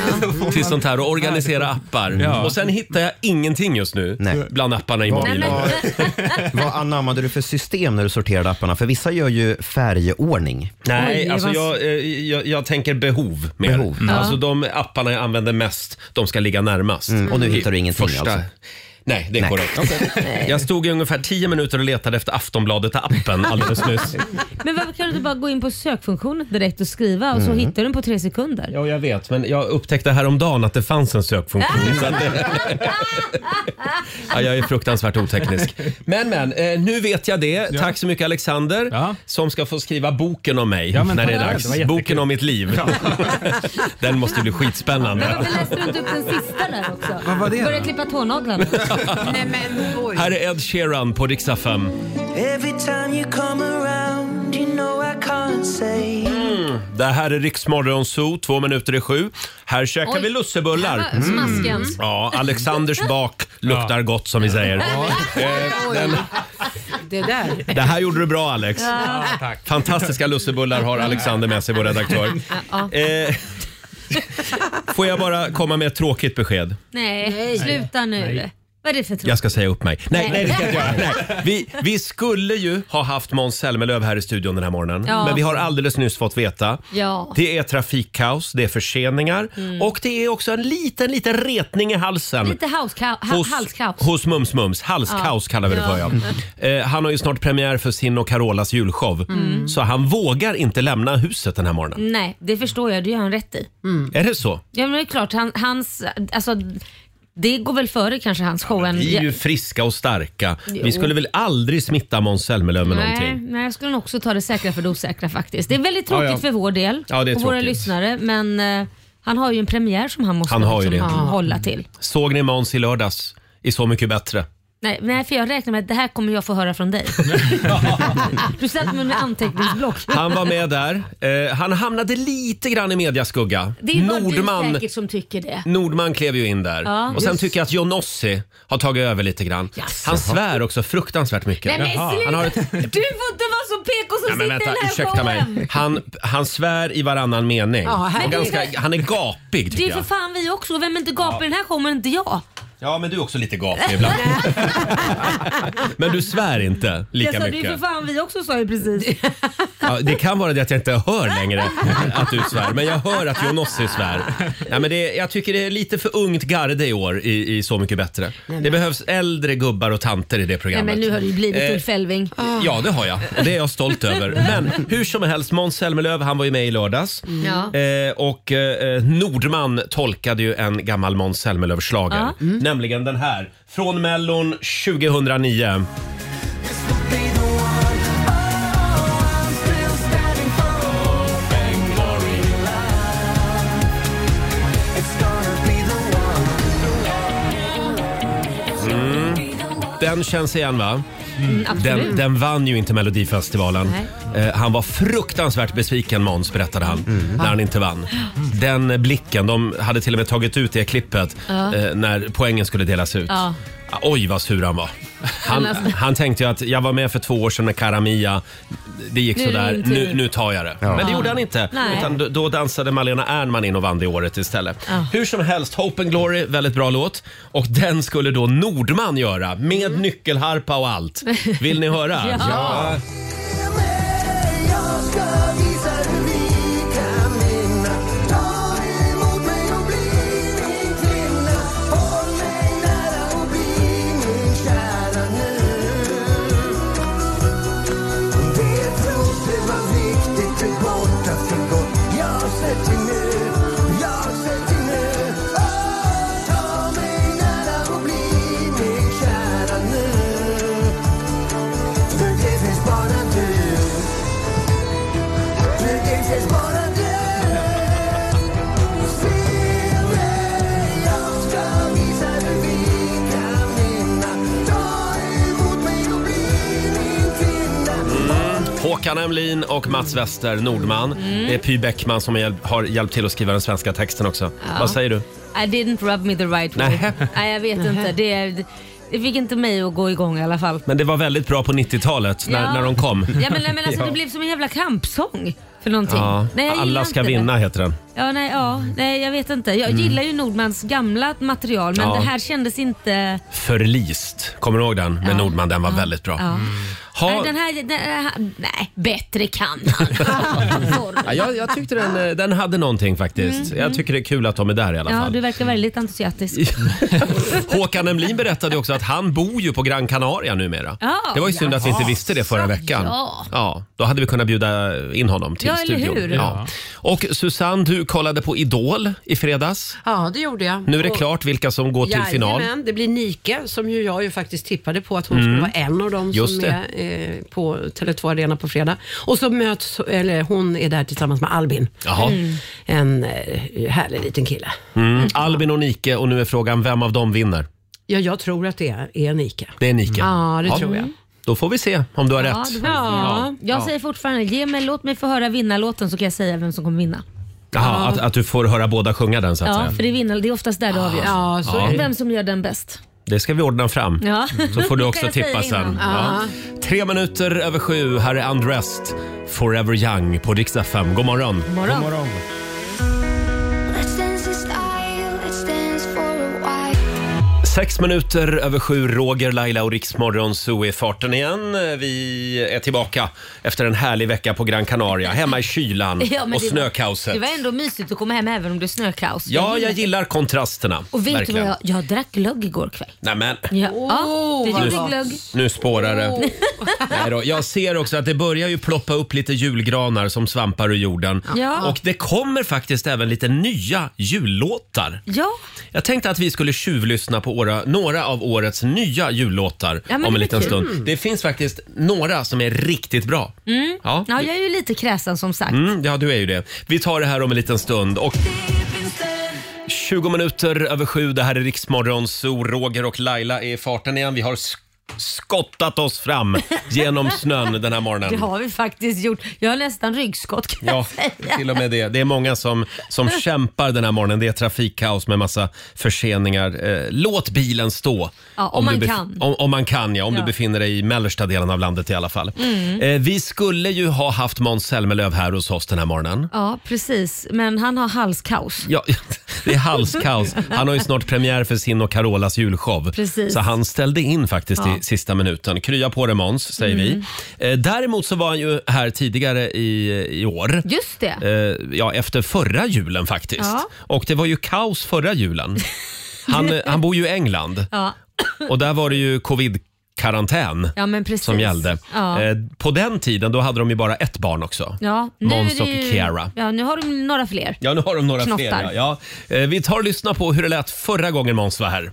Speaker 1: till sånt här och organisera appar och sen hittar jag ingenting just nu
Speaker 5: Nej.
Speaker 1: bland apparna i mobilen.
Speaker 5: Vad, vad anammade du för system när du sorterade apparna? För vissa gör ju färgordning.
Speaker 1: Nej,
Speaker 2: Oj,
Speaker 1: alltså
Speaker 2: vad-
Speaker 1: jag, eh, jag, jag tänker behov mer.
Speaker 5: Behov. Mm.
Speaker 1: Alltså de apparna jag använder mest, de ska ligga närmast.
Speaker 5: Mm. Och nu
Speaker 1: I
Speaker 5: hittar du ingenting
Speaker 1: Första...
Speaker 5: alltså?
Speaker 1: Nej, det är korrekt. Jag stod i ungefär 10 minuter och letade efter Aftonbladet-appen alldeles nyss.
Speaker 2: Men varför kan du inte bara gå in på sökfunktionen direkt och skriva och så hittar du den på tre sekunder?
Speaker 1: Mm. Ja, jag vet, men jag upptäckte häromdagen att det fanns en sökfunktion. så att det... ja, jag är fruktansvärt oteknisk. Men, men, eh, nu vet jag det. Tack så mycket Alexander
Speaker 7: Ja.
Speaker 1: som ska få skriva boken om mig
Speaker 7: Ja, men
Speaker 1: när det är
Speaker 7: tack.
Speaker 1: dags.
Speaker 7: Det var jättekul.
Speaker 1: boken om mitt liv. Den måste bli skitspännande.
Speaker 2: Men varför läste du inte upp den sista där också?
Speaker 7: Vad var det då?
Speaker 2: Börja klippa tånaglarna.
Speaker 1: Mm.
Speaker 6: Nej, men, oj.
Speaker 1: Här är Ed Sheeran på Rix FM. Det här är Riksmorgon Zoo, två minuter i sju. Här käkar
Speaker 2: Oj.
Speaker 1: vi lussebullar. Mm.
Speaker 2: Här var Smasken.
Speaker 1: Ja, Alexanders bak luktar gott som vi säger. Eh, Den,
Speaker 6: Det där.
Speaker 1: det här gjorde du bra Alex.
Speaker 7: Ja, tack.
Speaker 1: Fantastiska lussebullar har Alexander med sig, vår redaktör. Eh, Får jag bara komma med ett tråkigt besked?
Speaker 2: Nej, sluta nu. Vad är det för tråkigt?
Speaker 1: Jag ska säga upp mig. Nej, nej det ska jag inte göra. Nej. Vi, vi skulle ju ha haft Måns Zelmerlöw här i studion den här morgonen.
Speaker 2: Ja.
Speaker 1: Men vi har alldeles nyss fått veta.
Speaker 2: Ja.
Speaker 1: Det är trafikkaos, det är förseningar och det är också en liten, liten retning i halsen.
Speaker 2: Lite hauska- ha- halskaos.
Speaker 1: hos Mums Mums. Halskaos kallar vi det för ja. Eh, han har ju snart premiär för sin och Carolas julshow. Så han vågar inte lämna huset den här morgonen.
Speaker 2: Nej, det förstår jag. Det gör han rätt i.
Speaker 1: Är det så?
Speaker 2: Ja men det är klart, han, hans, alltså, det går väl före kanske hans show än...
Speaker 1: Vi är ju friska och starka. Vi skulle väl aldrig smitta Måns Zelmerlöw med
Speaker 2: Nej,
Speaker 1: någonting.
Speaker 2: nej, jag skulle nog också ta det säkra för det osäkra faktiskt. Det är väldigt tråkigt
Speaker 1: Ja, ja.
Speaker 2: för vår del
Speaker 1: Ja, det är
Speaker 2: och våra
Speaker 1: tråkigt.
Speaker 2: lyssnare men eh, han har ju en premiär som han måste
Speaker 1: Han har ju
Speaker 2: liksom
Speaker 1: det.
Speaker 2: ha- hålla till.
Speaker 1: Såg ni Måns i lördags? I Så mycket bättre.
Speaker 2: Nej, nej, för jag räknar med att det här kommer jag få höra från dig. du satt med en anteckningsblock.
Speaker 1: Han var med där. Eh, han hamnade lite grann i mediaskugga.
Speaker 2: Det är ju bara du säkert som tycker det.
Speaker 1: Nordman klev ju in där.
Speaker 2: Ja.
Speaker 1: och sen tycker jag att Johnossi har tagit över lite grann.
Speaker 2: Jaså.
Speaker 1: Han svär också fruktansvärt mycket.
Speaker 2: Nej men sluta!
Speaker 1: Han har ett...
Speaker 2: Du får inte vara så PK som
Speaker 1: Nej, men
Speaker 2: sitter
Speaker 1: vänta,
Speaker 2: i den här
Speaker 1: ursäkta
Speaker 2: showen.
Speaker 1: mig. Han, han svär i varannan mening.
Speaker 6: Ja, här-
Speaker 1: och ganska, han är gapig
Speaker 2: Det
Speaker 1: tycker
Speaker 2: är för
Speaker 1: jag.
Speaker 2: fan vi också. Vem inte gapar i den här showen inte jag.
Speaker 1: Ja, men du är också lite gapig ibland. men du svär inte lika
Speaker 2: jag sa det är
Speaker 1: mycket.
Speaker 2: för fan vi också sa ju precis.
Speaker 1: Ja, det kan vara det att jag inte hör längre att du svär, men jag hör att Johnossi svär. Nej, men det, är- jag tycker det är lite för ungt garde i år i, i Så mycket bättre. Det behövs äldre gubbar och tanter i det
Speaker 2: Nej
Speaker 1: programmet.
Speaker 2: men nu har det ju blivit
Speaker 1: Eh,
Speaker 2: Ulf Elfving.
Speaker 1: Ja, det har jag. Och det är jag stolt över. Men hur som helst, Måns Zelmerlöw han var ju med i lördags.
Speaker 2: Ja.
Speaker 1: Eh, och eh, Nordman tolkade ju en gammal Måns Zelmerlöw-schlager.
Speaker 2: Ja. Mm.
Speaker 1: Nämligen den här, från Mellon 2009. Mm. Den känns igen va?
Speaker 2: Absolut.
Speaker 1: Den, den vann ju inte Melodifestivalen. Eh, han var fruktansvärt besviken Måns, berättade han, när han inte vann. Den blicken, de hade till och med tagit ut det klippet eh, när poängen skulle delas ut.
Speaker 2: Ja. Alltså.
Speaker 1: Ah, Oj vad sur han var. Han, han tänkte ju att jag var med för två år sedan med Karamia. Det gick
Speaker 2: Nu är det
Speaker 1: sådär,
Speaker 2: min tur.
Speaker 1: nu, nu tar jag det. Men det gjorde han inte.
Speaker 2: Nej.
Speaker 1: Utan då, då dansade Malena Ernman in och vann det året istället. Hur som helst, Hope and Glory, väldigt bra låt. Och den skulle då Nordman göra med nyckelharpa och allt. Vill ni höra?
Speaker 2: Mm. Ja. Ja.
Speaker 1: Håkan Emlin och Mats Wester, Nordman.
Speaker 2: Mm.
Speaker 1: Det är Py Bäckman som har hjälp- har hjälpt till att skriva den svenska texten också. Vad säger du?
Speaker 2: I didn't rub me the right way.
Speaker 1: Nähä.
Speaker 2: Nej jag vet inte. Det, det fick inte mig att gå igång i alla fall.
Speaker 1: Men det var väldigt bra på 90-talet när,
Speaker 2: Ja.
Speaker 1: när de kom.
Speaker 2: Ja men, men alltså det blev som en jävla kampsång för någonting.
Speaker 1: Ja.
Speaker 2: Nej, jag gillar
Speaker 1: Alla ska
Speaker 2: inte det.
Speaker 1: vinna heter den.
Speaker 2: Ja, Ja, nej, ja,
Speaker 1: Mm.
Speaker 2: nej, jag vet inte. Jag gillar ju Nordmans gamla material men
Speaker 1: Ja.
Speaker 2: det här kändes inte...
Speaker 1: Förlist, kommer du ihåg den? Med
Speaker 2: Ja.
Speaker 1: Nordman, den var
Speaker 2: Ja.
Speaker 1: väldigt bra.
Speaker 2: Ja. Nej,
Speaker 1: Ha,
Speaker 2: den här, den här... Nej, bättre kan han. Sorry.
Speaker 1: ja, jag, jag tyckte den, eh, den hade någonting faktiskt. Jag tycker det är kul att de är där i alla
Speaker 2: Mm. Ja,
Speaker 1: fall.
Speaker 2: du verkar väldigt entusiastisk.
Speaker 1: Håkan Emlin berättade ju också att han bor ju på Gran Canaria numera.
Speaker 2: Ja.
Speaker 1: det var ju synd att vi inte visste det förra veckan.
Speaker 2: Ja.
Speaker 1: då hade vi kunnat bjuda in honom till
Speaker 2: Ja, eller
Speaker 1: studion.
Speaker 2: hur?
Speaker 1: Ja. Och Susanne, du kollade på Idol i fredags.
Speaker 6: Ja, det gjorde jag.
Speaker 1: Nu är det
Speaker 6: Och-
Speaker 1: klart vilka som går till final. Mm.
Speaker 6: Jajamän, det blir Nike som ju jag ju faktiskt tippade på att hon skulle vara en av dem
Speaker 1: Just
Speaker 6: som är eh, på Tele2 Arena på fredag. Och så möts, eller hon är där tillsammans med Albin.
Speaker 1: Jaha.
Speaker 2: Mm.
Speaker 6: En eh, härlig liten kille.
Speaker 1: Mm. Albin och Nike och nu är frågan vem av dem vinner?
Speaker 6: Ja, jag tror att det är Nike.
Speaker 1: Det är Nike.
Speaker 6: Ja, det tror jag.
Speaker 1: Då får vi se om du har
Speaker 2: Ja,
Speaker 1: rätt.
Speaker 2: det var-
Speaker 6: Ja,
Speaker 2: Jag säger fortfarande, ge mig, låt mig få höra vinnarlåten så kan jag säga vem som kommer vinna.
Speaker 1: Jaha, att, att du får höra båda sjunga den så att
Speaker 2: Ja,
Speaker 1: säga.
Speaker 2: för det, är vinnar, det är oftast där
Speaker 1: Ah.
Speaker 2: det avgörs.
Speaker 6: ja så är det.
Speaker 2: Vem som gör den bäst.
Speaker 1: Det ska vi ordna fram.
Speaker 2: Ja.
Speaker 1: Så får du
Speaker 2: Kan
Speaker 1: också
Speaker 2: jag säga
Speaker 1: tippa sen.
Speaker 2: innan?
Speaker 1: Ja. Tre minuter över sju. Här är Undressed, Forever Young på Rix FM. God morgon!
Speaker 2: Morgon.
Speaker 8: Let's dance in style, let's dance for a while.
Speaker 1: Sex minuter över sju. Roger, Laila och Rix Morgon Zoo är farten igen. Vi är tillbaka efter en härlig vecka på Gran Canaria. Hemma i kylan
Speaker 2: Ja, men
Speaker 1: och
Speaker 2: det-
Speaker 1: snökaoset.
Speaker 2: Det var ändå mysigt att komma hem även om det är snökaos.
Speaker 1: Ja, jag gillar kontrasterna.
Speaker 2: Och vet du
Speaker 1: verkligen.
Speaker 2: vad jag, jag drack glögg igår kväll.
Speaker 1: Nej, men.
Speaker 2: Ja,
Speaker 6: Åh,
Speaker 2: ja
Speaker 6: vad
Speaker 2: du
Speaker 1: gott.
Speaker 2: gjorde glögg.
Speaker 1: Nu spårar det. Nej då. Jag ser också att det börjar ju ploppa upp lite julgranar som svampar ur jorden.
Speaker 2: Ja.
Speaker 1: Och det kommer faktiskt även lite nya jullåtar.
Speaker 2: Ja,
Speaker 1: Jag tänkte att vi skulle tjuvlyssna på åra, några av årets nya jullåtar
Speaker 2: Ja, men
Speaker 1: om
Speaker 2: det
Speaker 1: en
Speaker 2: blir
Speaker 1: liten
Speaker 2: kul.
Speaker 1: stund. Det finns faktiskt några som är riktigt bra. Ja.
Speaker 2: Mm. ja, jag är ju lite kräsen som sagt.
Speaker 1: Mm, ja, du är ju det. Vi tar det här om en liten stund. Och 20 minuter över sju. Det här är Riksmorgon, så Roger och Laila är i farten igen. Vi har sk- skottat oss fram genom snön den här
Speaker 2: Det
Speaker 1: morgonen.
Speaker 2: har vi faktiskt gjort. Jag har nästan ryggskott kan
Speaker 1: Ja,
Speaker 2: jag säga.
Speaker 1: till och med det. Det är många som, som kämpar den här morgonen. Det är trafikkaos med massa förseningar. Eh, låt bilen stå.
Speaker 2: Ja, om man
Speaker 1: du bef-
Speaker 2: kan.
Speaker 1: Om, om man kan, ja. Om du
Speaker 2: Ja. Mm.
Speaker 1: befinner dig i mellersta delen av landet i alla fall. Eh, vi skulle ju ha haft Måns Zelmerlöw här hos oss den här morgonen.
Speaker 2: Ja, precis. Men han har halskaos.
Speaker 1: Ja, det är halskaos. Han har ju snart premiär för sin och Carolas julshow.
Speaker 2: Precis.
Speaker 1: Så han ställde in faktiskt i sista minuten. Krya på det Måns, säger
Speaker 2: Mm.
Speaker 1: vi. Eh, Däremot så var han ju här tidigare i, i år.
Speaker 2: Just
Speaker 1: Eh,
Speaker 2: det.
Speaker 1: Ja, efter förra julen faktiskt.
Speaker 2: Ja.
Speaker 1: Och det var ju kaos förra julen. Han, eh, han bor ju i England
Speaker 2: Ja,
Speaker 1: och där var det ju covid-karantän.
Speaker 2: ja men precis.
Speaker 1: Som gällde.
Speaker 2: Ja.
Speaker 1: Eh, På den tiden då hade de ju bara ett barn också.
Speaker 2: Ja, nu
Speaker 1: Måns
Speaker 2: är det
Speaker 1: och
Speaker 2: ju-
Speaker 1: Ciara.
Speaker 2: Ja, nu har de några fler.
Speaker 1: Ja, nu har de några
Speaker 2: Knottar.
Speaker 1: fler. Ja. Ja. Eh, Vi tar och lyssnar på hur det lät förra gången Måns var här.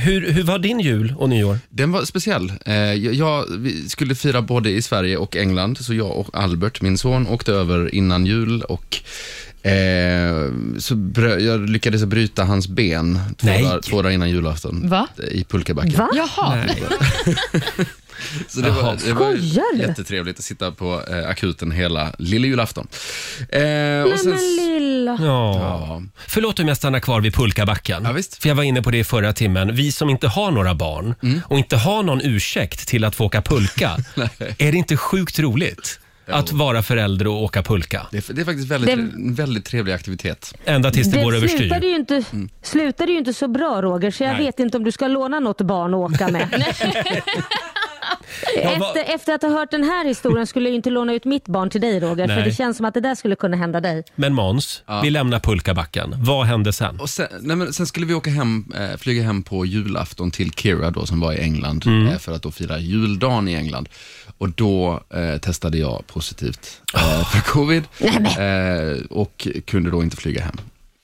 Speaker 1: Hur, hur var din jul och nyår?
Speaker 9: Den var speciell. Eh, jag, jag vi skulle fira både i Sverige och England, så jag och Albert, min son, åkte över innan jul och eh, så brö- jag lyckades bryta hans ben två,
Speaker 1: Nej.
Speaker 9: dagar, två dagar innan julafton
Speaker 10: Va?
Speaker 9: i pulkabacken. Va?
Speaker 10: Jaha,
Speaker 9: Så det
Speaker 1: Jaha.
Speaker 9: var, det var
Speaker 10: Skojar du?
Speaker 9: jättetrevligt att sitta på eh, akuten hela lilla julafton. Eh, och sen, s-
Speaker 10: lilla.
Speaker 1: Ja. Förlåt om jag stannar kvar vid pulkabacken.
Speaker 9: Ja, visst. Mm.
Speaker 1: För jag var inne på det i förra timmen. Vi som inte har några barn och inte har någon ursäkt till att få åka pulka. är det inte sjukt roligt? Att vara förälder och åka pulka.
Speaker 9: det, är, det är faktiskt väldigt,
Speaker 10: Det-
Speaker 9: en väldigt trevlig aktivitet.
Speaker 1: Ända tills det, går
Speaker 10: Det
Speaker 1: överstyr. Mm.
Speaker 10: slutade ju, inte, slutade ju inte så bra Roger, så jag
Speaker 1: Nej.
Speaker 10: vet inte om du ska låna något barn att åka med.
Speaker 1: Ja, vad-
Speaker 10: efter, efter att ha hört den här historien skulle jag ju inte låna ut mitt barn till dig Roger,
Speaker 1: Nej.
Speaker 10: för det känns som att det där skulle kunna hända dig.
Speaker 1: Men Måns, vi lämnar pulkabacken. Vad hände sen?
Speaker 9: Och sen, nej men sen skulle vi åka hem, eh, flyga hem på julafton till Kira då, som var i England,
Speaker 10: Mm.
Speaker 9: eh, för att då fira juldagen i England. Och då eh, testade jag positivt eh,
Speaker 10: Oh.
Speaker 9: för covid eh, och kunde då inte flyga hem.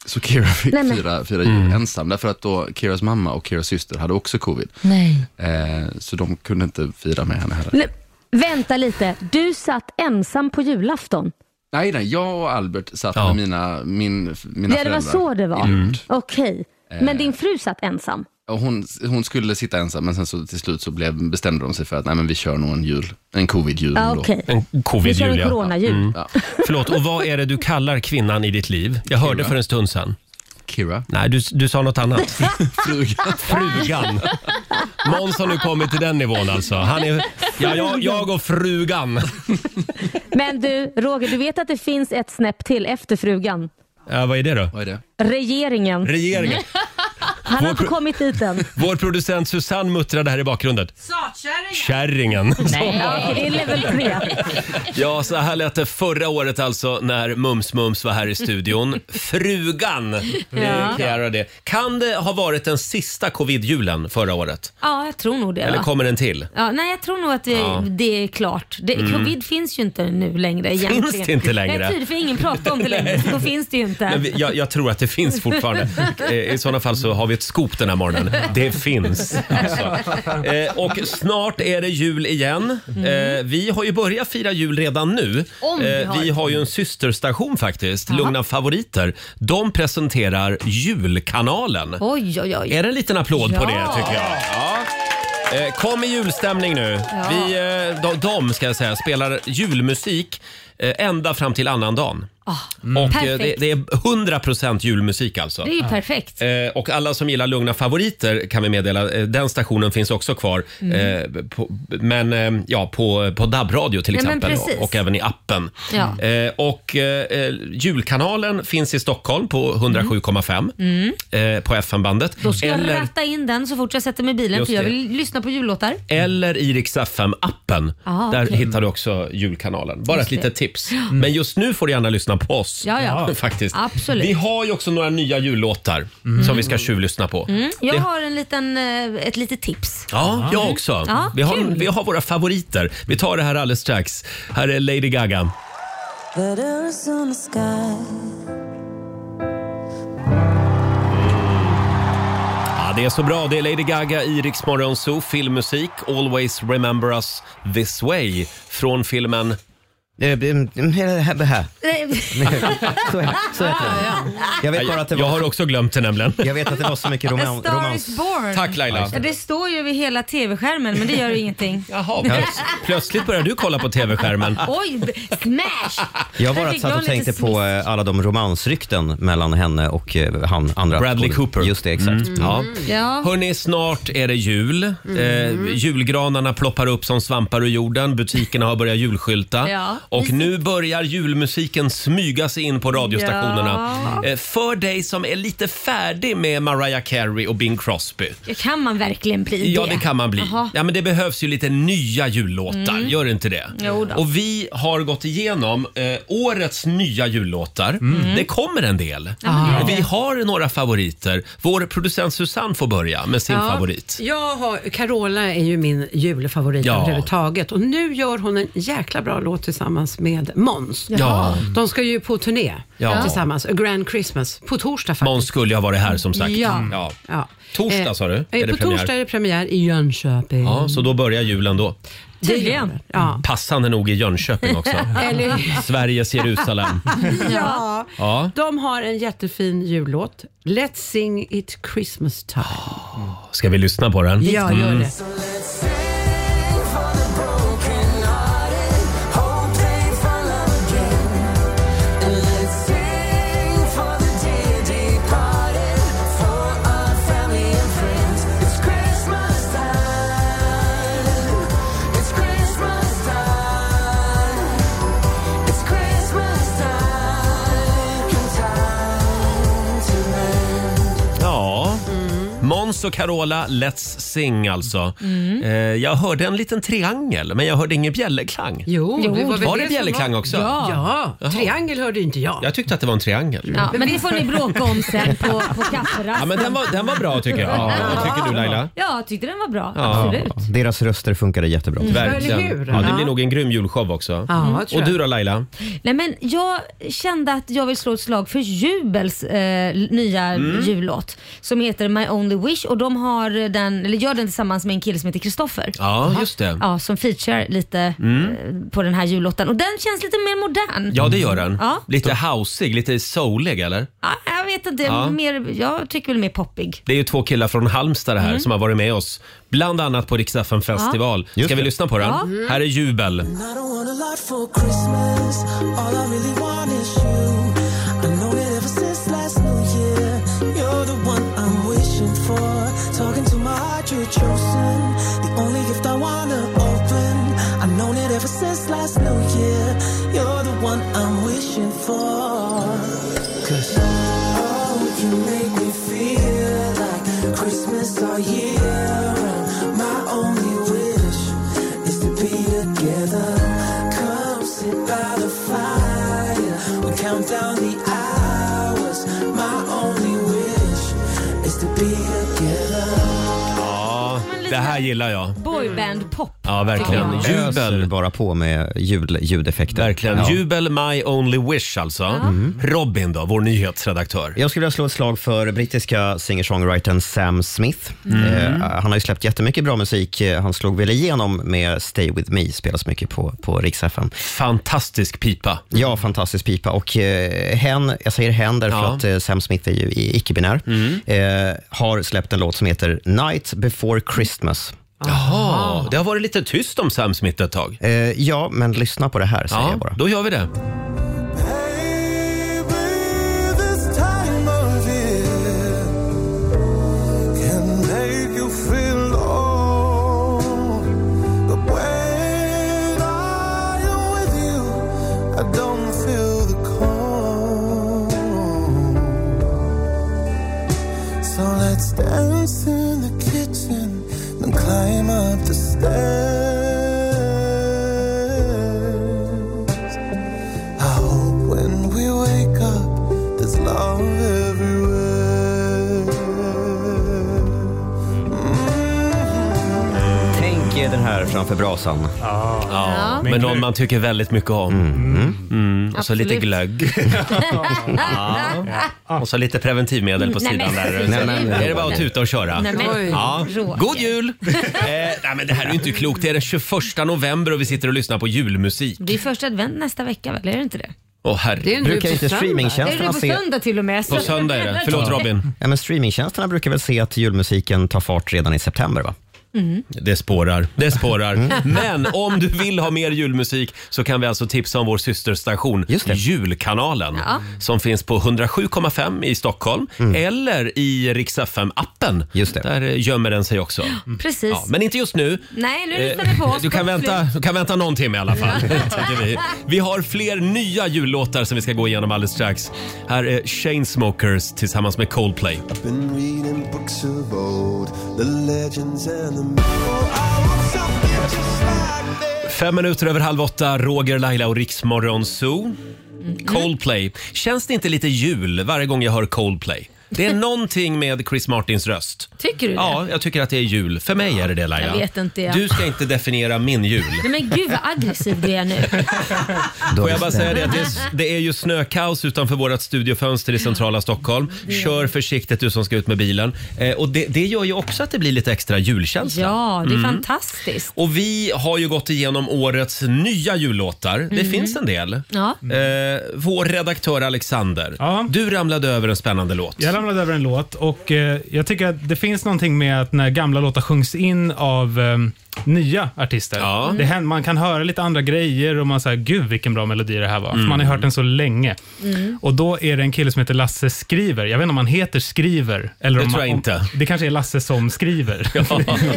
Speaker 9: Så Kira fick
Speaker 10: Nej, men- Mm.
Speaker 9: fira, fira jul ensam, därför att då Kiras mamma och Kiras syster hade också covid.
Speaker 10: Nej.
Speaker 9: Eh, så de kunde inte fira med henne heller.
Speaker 10: Vänta lite, du satt ensam på julafton.
Speaker 9: Nej, nej, jag och Albert satt
Speaker 1: Ja.
Speaker 9: med mina, min, mina
Speaker 10: Ja, det
Speaker 9: föräldrar.
Speaker 10: var så det var. Mm. Okej,
Speaker 1: Eh.
Speaker 10: men din fru satt ensam?
Speaker 9: Och hon, hon skulle sitta ensam, men sen så till slut så blev, bestämde de sig för att nej, men vi kör nog en jul, en covid-jul
Speaker 10: Ja,
Speaker 2: Ah,
Speaker 9: ändå.
Speaker 10: Ah, okej.
Speaker 1: Mm. En Mm.
Speaker 10: Vi kör
Speaker 1: covid-jul,
Speaker 10: en
Speaker 1: ja.
Speaker 10: coronajul.
Speaker 9: Ja.
Speaker 1: Förlåt, och vad är det du kallar kvinnan i ditt liv? Jag hörde för en stund sen.
Speaker 9: Kira,
Speaker 1: Nej, du, du sa något annat.
Speaker 9: frugan.
Speaker 1: Frugan. Måns har nu kommit till den nivån alltså. Han är, ja, jag, jag och frugan.
Speaker 10: Men du, Roger, du vet att det finns ett snäpp till efter frugan?
Speaker 1: Ja, vad är det då?
Speaker 9: Vad är det?
Speaker 1: Eh,
Speaker 10: Regeringen.
Speaker 1: Regeringen.
Speaker 10: Han har inte kommit dit än.
Speaker 1: Vår producent Susanne muttrade här i bakgrunden. Kärringen.
Speaker 10: Nej, ja, okej, det är level 3.
Speaker 1: Ja, så här lät det förra året alltså när Mums Mums var här i studion. Frugan, ja. det. Kan det ha varit den sista covid-julen förra året?
Speaker 2: Ja, jag tror nog det.
Speaker 1: Eller
Speaker 2: va?
Speaker 1: kommer den till?
Speaker 2: Ja, nej, jag tror nog att det,
Speaker 1: Ja. Mm.
Speaker 2: det är klart. Det, Covid finns ju inte nu längre. egentligen.
Speaker 1: det inte längre?
Speaker 2: Nej, tydligt, för ingen pratar om det längre. så Då finns det ju inte.
Speaker 1: Men vi, jag, jag tror att det finns fortfarande. Eh, I sådana fall så har vi ett scoop den här morgonen. Det finns. Alltså. Eh, och snart är det jul igen. Eh, vi har ju börjat fira jul redan nu.
Speaker 2: Mhm.
Speaker 1: Eh,
Speaker 2: Om vi har.
Speaker 1: vi har ju en systerstation faktiskt, Lugna favoriter. De presenterar Julkanalen.
Speaker 2: Oj, oj, oj.
Speaker 1: Är det en liten applåd på det
Speaker 2: Ja.
Speaker 1: tycker jag? Ja. Eh, Kom i julstämning nu.
Speaker 2: Ja.
Speaker 1: Vi, eh, de, de ska jag säga, spelar julmusik eh, ända fram till annandagen. Och eh, det,
Speaker 2: Mm. perfekt.
Speaker 1: det är 100% julmusik alltså.
Speaker 2: Ah, Det är ju perfekt.
Speaker 1: Eh, Och alla som gillar Lugna favoriter kan vi meddela, eh, den stationen finns också kvar.
Speaker 2: Mm.
Speaker 1: Eh, på, men eh, ja, på, på DAB-radio till
Speaker 2: Ja, men
Speaker 1: exempel
Speaker 2: precis.
Speaker 1: och, och även i appen.
Speaker 2: Ja.
Speaker 1: Eh, och eh, eh, julkanalen finns i Stockholm på 107,5 eh, på FM-bandet.
Speaker 2: Mm. Då ska
Speaker 1: Eller-
Speaker 2: jag ratta in den så fort jag sätter mig i bilen
Speaker 1: Just
Speaker 2: för jag
Speaker 1: det.
Speaker 2: vill lyssna på jullåtar.
Speaker 1: eller i Rix FM-appen.
Speaker 2: Ah,
Speaker 1: Där
Speaker 2: okej.
Speaker 1: hittar du också julkanalen. Bara
Speaker 2: Just
Speaker 1: ett litet
Speaker 2: det.
Speaker 1: tips. Men just nu får du gärna lyssna på oss.
Speaker 2: Ja, ja.
Speaker 1: Faktiskt.
Speaker 2: Absolut.
Speaker 1: Vi har ju också några nya jullåtar som vi ska tjuvlyssna på.
Speaker 2: Mm. Jag
Speaker 1: Det-
Speaker 2: har en liten, eh, ett litet tips.
Speaker 1: Ja, jag också.
Speaker 2: Ja,
Speaker 1: vi, har,
Speaker 2: kul.
Speaker 1: vi har våra favoriter. Vi tar det här alldeles strax. Här är Lady Gaga. Ja, det är så bra. Det är Lady Gaga i Rix Morgon Zoo, filmmusik. Always remember us this way. Från filmen...
Speaker 5: Eh, eh, eh, eh, här.
Speaker 2: Nej,
Speaker 5: Så är det. Så heter det. Jag vet bara att det
Speaker 1: Jag
Speaker 5: var,
Speaker 1: har också glömt det nämligen.
Speaker 5: jag vet att det var så mycket
Speaker 2: A
Speaker 5: roman,
Speaker 2: Star is
Speaker 5: romans.
Speaker 2: born.
Speaker 1: Tack Laila.
Speaker 2: Ja, det står ju vid hela tv-skärmen men det gör ingenting.
Speaker 1: Jaha, plöts- plötsligt börjar du kolla på TV-skärmen.
Speaker 2: Oj, b- smash!
Speaker 5: Jag har
Speaker 2: Där
Speaker 5: bara
Speaker 2: fick
Speaker 5: satt
Speaker 2: jag
Speaker 5: och
Speaker 2: lite
Speaker 5: tänkte på
Speaker 2: smisk.
Speaker 5: eh, alla de romansrykten mellan henne och eh, han andra.
Speaker 1: Bradley
Speaker 5: skådespelaren.
Speaker 1: Cooper.
Speaker 5: Just det, exakt.
Speaker 2: Mm.
Speaker 1: Ja.
Speaker 2: Ja. Mm.
Speaker 1: Hörni, snart är det jul. Eh, julgranarna ploppar upp som svampar ur jorden. Butikerna har börjat julskylta.
Speaker 2: Ja.
Speaker 1: Och nu börjar julmusiken smyga sig in på radiostationerna. Eh, för dig som är lite färdig med Mariah Carey och Bing Crosby.
Speaker 2: Kan man verkligen bli det?
Speaker 1: Ja, det kan man bli.
Speaker 2: Jaha.
Speaker 1: Ja, men det behövs ju lite nya jullåtar, gör inte det?
Speaker 2: Mm. Jo då.
Speaker 1: Och vi har gått igenom eh, årets nya jullåtar. Det kommer en del. Och Vi har några favoriter. Vår producent Susanne får börja med sin
Speaker 6: Ja,
Speaker 1: favorit.
Speaker 6: Jag har, Carola är ju min julfavorit
Speaker 1: Ja.
Speaker 6: överhuvudtaget och nu gör hon en jäkla bra låt tillsammans med Måns.
Speaker 1: Ja.
Speaker 6: De ska ju på turné
Speaker 1: Mm. Ja.
Speaker 6: tillsammans, A Grand Christmas, på torsdag faktiskt.
Speaker 1: Måns skulle ju ha varit här som sagt.
Speaker 2: Ja.
Speaker 1: Mm. Ja.
Speaker 6: Ja.
Speaker 1: Torsdag, sa du?
Speaker 6: Eh,
Speaker 1: Är det
Speaker 6: på
Speaker 1: premiär?
Speaker 6: torsdag är det premiär i Jönköping.
Speaker 1: ja, så då börjar julen då.
Speaker 6: Det gör
Speaker 2: Tydligen.
Speaker 6: det. Ja.
Speaker 1: Passande nog i Jönköping också.
Speaker 6: Eller,
Speaker 1: Sveriges Jerusalem.
Speaker 6: ja.
Speaker 1: Ja.
Speaker 6: De har en jättefin jullåt. Let's sing it Christmas time.
Speaker 1: Ah,
Speaker 6: Mm.
Speaker 1: Ska vi lyssna på den?
Speaker 6: Ja, gör det.
Speaker 1: Ja. Måns och Carola, Let's Sing alltså. Eh, jag hörde en liten triangel, men jag hörde ingen bjällerklang.
Speaker 6: Jo,
Speaker 2: Jo,
Speaker 6: det var, väl
Speaker 1: Var det
Speaker 6: som
Speaker 1: bjällerklang också?
Speaker 6: Ja, triangel hörde inte jag.
Speaker 1: Jag tyckte att det var en triangel.
Speaker 2: Ja, men det får ni bråka om sen på, på
Speaker 1: Ja,
Speaker 2: kafferasten.
Speaker 1: men den var, den var bra tycker jag. Vad tycker du Laila?
Speaker 2: Ja, jag tyckte den var bra.
Speaker 1: Ja.
Speaker 2: Absolut.
Speaker 5: Deras röster funkade jättebra.
Speaker 2: Mm.
Speaker 6: Eller hur?
Speaker 1: Ja, det blir
Speaker 6: Ja.
Speaker 1: nog en grym julshow också.
Speaker 6: Ja, jag tror
Speaker 1: Mm. Och
Speaker 6: jag.
Speaker 1: du då Laila?
Speaker 2: Nej, men jag kände att jag vill slå ett slag för Jubels eh, nya
Speaker 1: Mm.
Speaker 2: jullåt som heter My Only Wish och de har den, eller gör den tillsammans med en kille som heter Kristoffer.
Speaker 1: Ja, just det.
Speaker 2: Ja, som feature lite eh, på den här jullåten och den känns lite mer modern.
Speaker 1: Ja, det gör den.
Speaker 2: Ja.
Speaker 1: Lite houseig, lite soulig eller?
Speaker 2: Ja, jag vet inte,
Speaker 1: Ja.
Speaker 2: mer, jag tycker väl mer poppig.
Speaker 1: Det är ju två killar från Halmstad det här som har varit med oss. Bland annat på Rix FM festival.
Speaker 5: Just
Speaker 1: Ska vi
Speaker 5: det.
Speaker 1: lyssna på den?
Speaker 2: Ja.
Speaker 1: Här är Jubel.
Speaker 11: Last New Year, you're the one I'm wishing for. Cause Oh,
Speaker 1: Ja, det här gillar jag.
Speaker 2: Boyband-pop.
Speaker 1: Ja, verkligen.
Speaker 2: tycker jag.
Speaker 1: Jubel.
Speaker 5: Bara på med jul, ljudeffekter.
Speaker 1: Verkligen.
Speaker 5: Ja.
Speaker 1: Jubel, my only wish alltså. Robin då, vår nyhetsredaktör.
Speaker 5: Jag skulle vilja slå ett slag för brittiska singer-songwritern Sam Smith. Eh, han har ju släppt jättemycket bra musik. Eh, Han slog väl igenom med Stay With Me, spelas mycket på, på Rix FM.
Speaker 1: Fantastisk pipa.
Speaker 5: Ja, fantastisk pipa. Och eh, hen, jag säger hen därför
Speaker 1: Ja.
Speaker 5: att eh, Sam Smith är ju i- icke-binär, eh, har släppt en låt som heter Night before Christmas.
Speaker 1: Jaha, det har varit lite tyst om Sam Smith ett tag.
Speaker 5: Eh, ja, men lyssna på det här säger jag
Speaker 1: Ja,
Speaker 5: bara.
Speaker 1: då gör vi det.
Speaker 11: Let's dance in the kitchen and climb up the stairs. I hope when we wake up, there's love everywhere.
Speaker 5: Tänk er den här framför brasan.
Speaker 1: Ja, med
Speaker 7: Men
Speaker 1: någon
Speaker 7: glögg.
Speaker 1: man tycker väldigt mycket om. Mm, och så lite
Speaker 2: Absolut.
Speaker 1: glögg. ja. Och så lite preventivmedel på
Speaker 2: Nej,
Speaker 1: sidan
Speaker 2: men-
Speaker 1: där.
Speaker 2: Nej,
Speaker 1: Sen
Speaker 2: men-
Speaker 1: är det bara att tuta och köra.
Speaker 2: Nej, men,
Speaker 6: Oj.
Speaker 1: Ja.
Speaker 2: Roger.
Speaker 1: God jul! eh, nej, men det här är ju inte klokt. Det är den 21 november och vi sitter och lyssnar på julmusik.
Speaker 2: Det är första advent nästa vecka väl? Är det inte det?
Speaker 1: Åh
Speaker 6: Det är
Speaker 1: herregud.
Speaker 6: nu
Speaker 5: Brukar
Speaker 6: på
Speaker 5: inte
Speaker 6: söndag.
Speaker 2: Är det
Speaker 5: streamingtjänsterna
Speaker 2: på
Speaker 5: se...
Speaker 2: söndag till och med?
Speaker 1: På söndag är det. Förlåt Robin.
Speaker 5: Ja, men streamingtjänsterna brukar väl se att julmusiken tar fart redan i september? va?
Speaker 1: Det spårar. Det
Speaker 2: Mm.
Speaker 1: spårar. Men om du vill ha mer julmusik så kan vi alltså tipsa om vår systerstation
Speaker 5: Just det.
Speaker 1: Julkanalen
Speaker 2: Ja. Mm.
Speaker 1: som finns på 107,5 i Stockholm eller i Rix FM-appen.
Speaker 5: Just det.
Speaker 1: Där eh, gömmer den sig också.
Speaker 2: Precis.
Speaker 1: Ja, men inte just nu.
Speaker 2: Nej, nu
Speaker 1: Eh,
Speaker 2: lyssnar vi på oss.
Speaker 1: Du kan,
Speaker 2: Punkt
Speaker 1: vänta,
Speaker 2: slut.
Speaker 1: du kan vänta någon timme i alla fall. tycker vi. vi har fler nya jullåtar som vi ska gå igenom alldeles strax. Här är Chainsmokers tillsammans med Coldplay.
Speaker 11: Been reading books of old, the legends and the Oh,
Speaker 1: Fem minuter över halv åtta, Roger, Laila och Riksmorgon Zoo. Coldplay. Känns det inte lite jul varje gång jag hör Coldplay? Det är någonting med Chris Martins röst.
Speaker 2: Tycker du det?
Speaker 1: Ja, jag tycker att det är jul. För mig är det det Laila.
Speaker 2: Jag vet inte, ja.
Speaker 1: Du ska inte definiera min jul.
Speaker 2: Nej, men gud vad aggressiv du är nu.
Speaker 1: Ah, Får jag bara säga det, att det, är, det är ju snökaos utanför vårt studiofönster i centrala Stockholm. Kör försiktigt du som ska ut med bilen. Eh, och det, det gör ju också att det blir lite extra julkänsla.
Speaker 2: Ja, det är
Speaker 1: Mm.
Speaker 2: fantastiskt.
Speaker 1: Och vi har ju gått igenom årets nya jullåtar.
Speaker 2: Mm.
Speaker 1: Det finns en del.
Speaker 2: Ja.
Speaker 1: Eh, vår redaktör Alexander,
Speaker 7: Mm. Ja.
Speaker 1: du ramlade över en spännande låt.
Speaker 7: Jag ramlade över en låt och eh, jag tycker att det finns någonting med att när gamla låtar sjungs in av eh, nya artister.
Speaker 1: Ja.
Speaker 7: Det händer, man kan höra lite andra grejer och man säger gud vilken bra melodi det här var. För man
Speaker 1: Mm.
Speaker 7: har hört den så länge. Och då är det en kille som heter Lasse Skriver. Jag vet inte om han heter Skriver. Eller
Speaker 1: Det
Speaker 7: om
Speaker 1: tror
Speaker 7: man,
Speaker 1: jag inte.
Speaker 7: Om, det kanske är Lasse som skriver.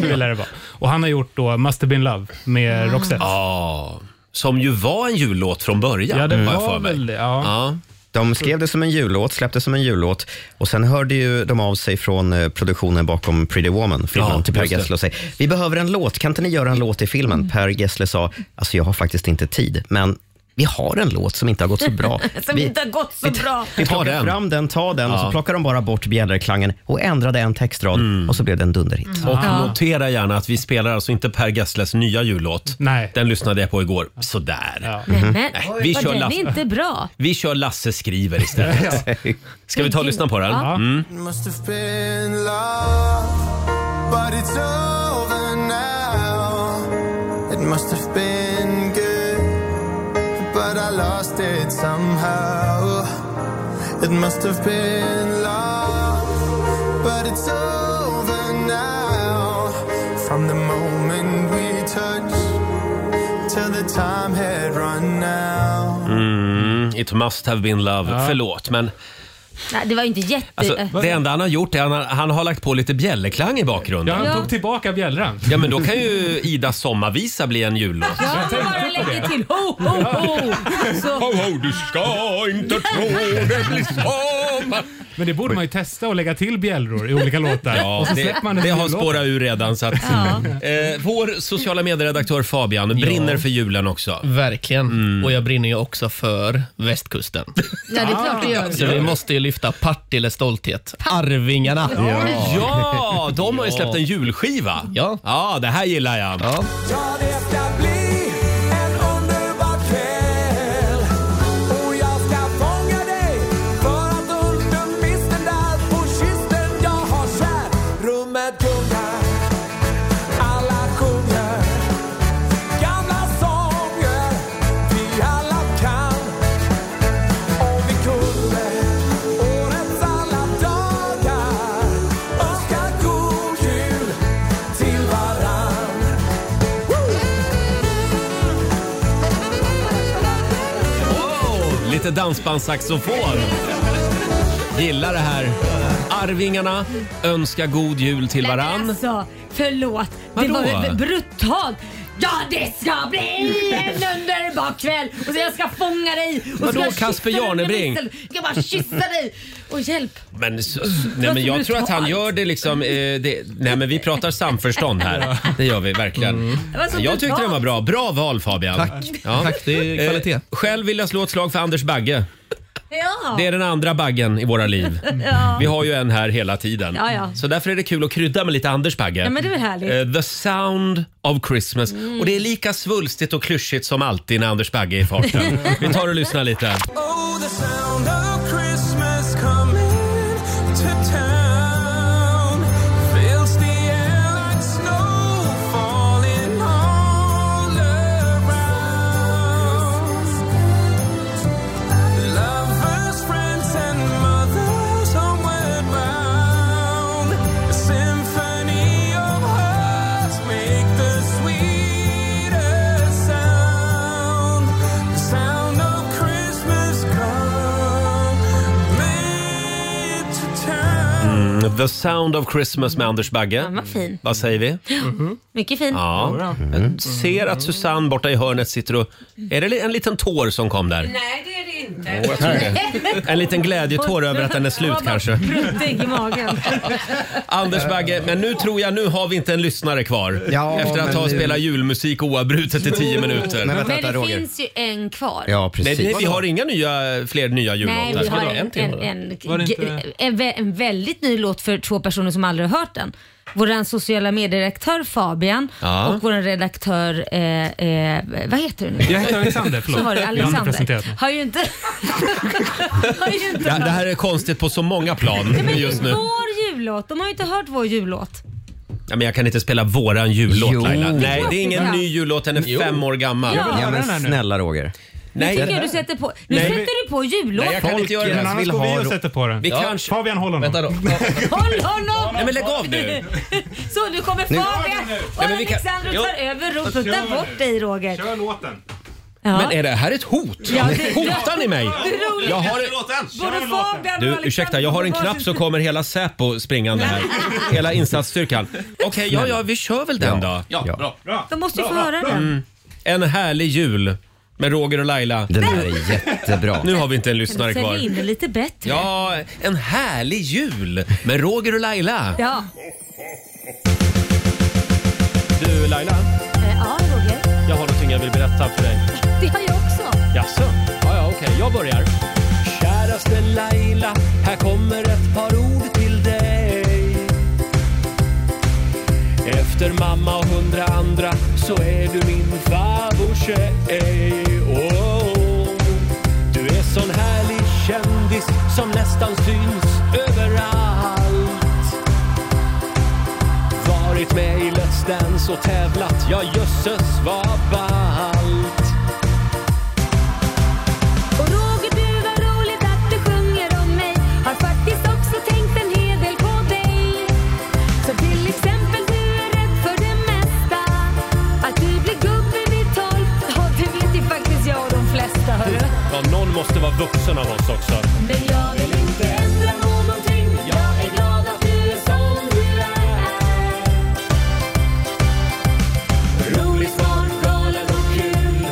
Speaker 7: det lär det vara. Och han har gjort då Must have been love med Roxette.
Speaker 1: Ja, som ju var en jullåt från början.
Speaker 7: Ja, det
Speaker 1: har jag
Speaker 7: var
Speaker 1: för mig.
Speaker 7: väl det. Ja.
Speaker 1: Ja.
Speaker 5: De skrev det som en jullåt, släppte som en jullåt och sen hörde ju de av sig från eh, produktionen bakom Pretty Woman, filmen,
Speaker 1: Ja,
Speaker 5: till Per
Speaker 1: just det. Mm.
Speaker 5: Gessle och säger vi behöver en låt, kan inte ni göra en låt i filmen? Per Gessle sa, alltså jag har faktiskt inte tid, men vi har en låt som inte har gått så bra.
Speaker 2: Som
Speaker 5: vi,
Speaker 2: inte har gått så bra.
Speaker 5: vi
Speaker 1: Ta
Speaker 5: plockar
Speaker 1: den.
Speaker 5: fram den, ta den och så plockar de bara bort bjäderklangen och ändrade en textrad
Speaker 1: Mm.
Speaker 5: och så blev det en dunderhit.
Speaker 1: Och notera gärna att vi spelar alltså inte Per Gessles nya jullåt.
Speaker 7: Nej.
Speaker 1: Den lyssnade jag på igår. Sådär.
Speaker 2: Nej, men,
Speaker 1: vi
Speaker 2: vi
Speaker 1: kör
Speaker 2: kör den
Speaker 1: last-
Speaker 2: är inte bra.
Speaker 1: Vi kör Lasse skriver istället. Ska vi ta och lyssna på den?
Speaker 2: Ja.
Speaker 11: Must have been love, but it's over now. It must have been good, but I lost it somehow. It must have been love, but it's over now. From the moment we touched till the time had run out.
Speaker 1: Mm, It must have been love. Förlåt, men
Speaker 2: Nej, det var ju inte jätte...
Speaker 1: alltså,
Speaker 2: Äh,
Speaker 1: det enda han har gjort är att han, han har lagt på lite bjällerklang i
Speaker 7: Ja,
Speaker 1: bakgrunden.
Speaker 7: han
Speaker 2: Ja.
Speaker 7: tog tillbaka bjällran.
Speaker 1: Ja, men då kan ju Idas sommarvisa bli en jullåt.
Speaker 2: Ja,
Speaker 7: tänkte
Speaker 2: bara
Speaker 7: på
Speaker 2: lägger till ho, ho, ho. Så,
Speaker 1: du ska inte tro det blir så sommar.
Speaker 7: Men det borde man ju testa och lägga till bjällror i olika låtar.
Speaker 1: Ja,
Speaker 7: och så
Speaker 1: det,
Speaker 7: släpper man en
Speaker 1: det har
Speaker 7: jullåt.
Speaker 1: spårat ur redan. Så att, eh, vår sociala medieredaktör Fabian brinner för julen också.
Speaker 12: Verkligen.
Speaker 1: Mm.
Speaker 12: Och jag brinner ju också för västkusten.
Speaker 2: Ja, det är klart det gör.
Speaker 12: Så vi måste ju lyfta Partille stolthet. Arvingarna.
Speaker 1: Ja. Ja, de har ju släppt en julskiva. Ja, ja det här gillar jag.
Speaker 11: Ja, det ska bli en underbar kväll Och jag ska fånga dig för att undan miss den där på kysten jag har kär Rummet gungar, alla sjunger gamla sånger vi alla kan Om vi kunde årets alla dagar önska god jul till varann
Speaker 1: Wow, lite dansbandssaxofon. Gillar det här. Arvingarna önskar god jul till
Speaker 2: Men
Speaker 1: varann.
Speaker 2: Alltså, förlåt.
Speaker 1: Vadå?
Speaker 2: Det var ju brutalt. Ja, det ska bli en underbar kväll och så jag ska fånga dig. Och så
Speaker 1: Vadå,
Speaker 2: ska jag
Speaker 1: Casper
Speaker 2: kyssa dig under
Speaker 1: Jarnebring?
Speaker 2: mitten. Jag ska bara kyssa dig. Och hjälp.
Speaker 1: Men, s- s- nej, men jag tror att han gör det liksom... Eh, det, nej men vi pratar samförstånd här. Det gör vi verkligen.
Speaker 2: Det var
Speaker 1: Jag
Speaker 2: så
Speaker 1: tyckte
Speaker 2: brutalt.
Speaker 1: den var bra. Bra val Fabian.
Speaker 12: Tack. Tack, det är kvalitet.
Speaker 1: Eh, själv vill jag slå ett slag för Anders Bagge.
Speaker 2: Ja.
Speaker 1: Det är den andra baggen i våra liv.
Speaker 2: Ja.
Speaker 1: Vi har ju en här hela tiden.
Speaker 2: Ja, ja.
Speaker 1: Så därför är det kul att krydda med lite Anders Bagge.
Speaker 2: Ja, men det Mm. är väl härligt.
Speaker 1: Eh, The sound of Christmas. Och det är lika svulstigt och klyschigt som alltid när Anders Bagge är i farten. Vi tar och lyssnar lite.
Speaker 11: Oh, the sound of Christmas coming to town fills the air like snow falling all around. Lovers, friends, and mothers homeward bound. A symphony of hearts make the sweetest sound. The sound of Christmas coming to town.
Speaker 1: Mm, The sound of Christmas med Anders Bagge.
Speaker 2: vad fin.
Speaker 1: Vad säger vi?
Speaker 2: Mycket fin.
Speaker 1: Ja. Jag ser att Susanne borta i hörnet sitter och... Är det en liten tår som kom där?
Speaker 6: Nej, det är det inte.
Speaker 1: jag tror det. En liten glädjetår över att den är slut kanske.
Speaker 2: Pruttig i magen.
Speaker 1: Anders Bagge, men nu tror jag nu har vi inte en lyssnare kvar.
Speaker 5: Ja,
Speaker 1: Efter att
Speaker 5: men
Speaker 1: ha
Speaker 5: nu-
Speaker 1: spelat julmusik oavbrutet i tio minuter.
Speaker 5: Men
Speaker 2: Men det finns ju en kvar.
Speaker 1: Nej, vi- vi har inga nya, fler nya jullåtar.
Speaker 2: Nej, vi har
Speaker 1: Vadå,
Speaker 2: en,
Speaker 1: till
Speaker 2: en,
Speaker 1: bara?
Speaker 2: en, ge- en, vä- en väldigt ny låt för två personer som aldrig har hört den. Vår sociala medieredaktör Fabian
Speaker 1: Ja.
Speaker 2: och vår redaktör, eh, eh, vad heter du nu?
Speaker 1: Jag heter Alexander, förlåt.
Speaker 2: Så var
Speaker 1: Jag
Speaker 2: det,
Speaker 1: har inte
Speaker 2: Alexander.
Speaker 1: presenterat mig.
Speaker 2: Har ju inte... har ju inte
Speaker 1: Det, det här är konstigt på så många plan
Speaker 2: Nej, men
Speaker 1: just nu.
Speaker 2: Vår jullåt, de har ju inte hört vår jullåt.
Speaker 1: Ja, men jag kan inte spela våran jullåt
Speaker 5: Jo.
Speaker 1: Laila. Nej, det är ingen
Speaker 2: Ja.
Speaker 1: ny jullåt. Den är fem år gammal.
Speaker 2: Jag vill höra
Speaker 5: Ja, men snälla Roger.
Speaker 2: Nu tycker jag
Speaker 1: Nej.
Speaker 2: du sätter på... Nu
Speaker 1: Nej,
Speaker 2: sätter du på jullåten.
Speaker 1: Nej, jag kan inte göra det.
Speaker 7: Men annars
Speaker 1: Vill
Speaker 7: går vi
Speaker 1: ha-
Speaker 7: och sätter på den.
Speaker 1: Vi kanske...
Speaker 7: Fabian, håll honom.
Speaker 1: Vänta då.
Speaker 2: Håll honom!
Speaker 1: Nej, men lägg av nu.
Speaker 2: Så nu kommer
Speaker 1: Nu-
Speaker 2: Fabian och
Speaker 1: Nej, men vi kan-
Speaker 2: Alexander
Speaker 1: Jo.
Speaker 2: tar över och
Speaker 1: Kör
Speaker 2: puttar
Speaker 1: nu.
Speaker 2: bort dig Roger.
Speaker 7: Kör låten.
Speaker 2: Ja.
Speaker 1: Men är det här ett hot?
Speaker 2: Ja, det-
Speaker 1: Hotar ni mig?
Speaker 2: Det är roligt.
Speaker 1: Jag har...
Speaker 2: Både Fabian
Speaker 1: Du,
Speaker 2: och
Speaker 1: ursäkta, jag har en knapp så kommer hela Säpo springande här. Hela insatsstyrkan. Okej, ja, ja, vi kör väl den då. Ja, bra.
Speaker 2: De måste ju få höra den.
Speaker 1: Mm. En härlig jul med Roger och Laila. Den
Speaker 5: här är jättebra.
Speaker 1: Nu har vi inte en lyssnare
Speaker 2: Sälj in
Speaker 1: kvar.
Speaker 2: det lite bättre.
Speaker 1: Ja, en härlig jul med Roger och Laila.
Speaker 2: Ja.
Speaker 1: Du Laila,
Speaker 2: Eh, ja, Roger.
Speaker 1: jag har någonting jag vill berätta för dig.
Speaker 2: Det har jag också.
Speaker 1: Jaså? Ja, ja, okej. Jag börjar. Käraste Laila, här kommer ett par ord till dig. Efter mamma och hundra andra så är du min favorittjej. Oh, du är sån härlig kändis som nästan syns överallt. Varit med i Let's Dance och tävlat, ja jösses vad ballt.
Speaker 11: Och Roger, du var roligt att du sjunger om mig. Har faktiskt också tänkt en hel del på dig. Så till exempel, du är rädd för det mesta. Att du blir gubbe vid tolv. Ja, det vet ju faktiskt jag och de flesta, hörru.
Speaker 1: Ja, någon måste vara vuxen av oss också.
Speaker 11: Men jag vill inte ändra någonting. Jag är glad att du är som du är. Rolig, smart, galen och kul.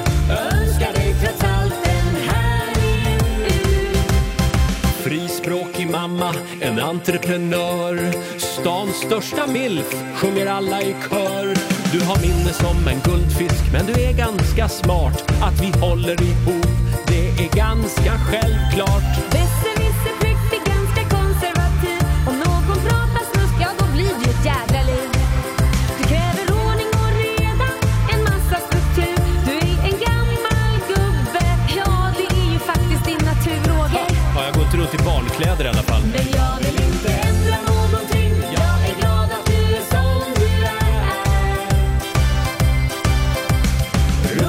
Speaker 1: till mamma, en entreprenör. Stans största milf, sjunger alla i kör. Du har minne som en guldfisk, men du är ganska smart. Att vi håller ihop, det är ganska självklart.
Speaker 6: Besserwisser prick blir ganska konservativ. Om någon pratar snusk, ja då blir det ett jädra liv. Du kräver ordning och reda, en massa struktur. Du är en gammal gubbe, ja det är ju faktiskt din natur, Roger.
Speaker 1: Ja, jag går inte runt i barnkläder i alla fall.
Speaker 6: Men jag vill inte ändra någonting. Jag är glad att du är som du är.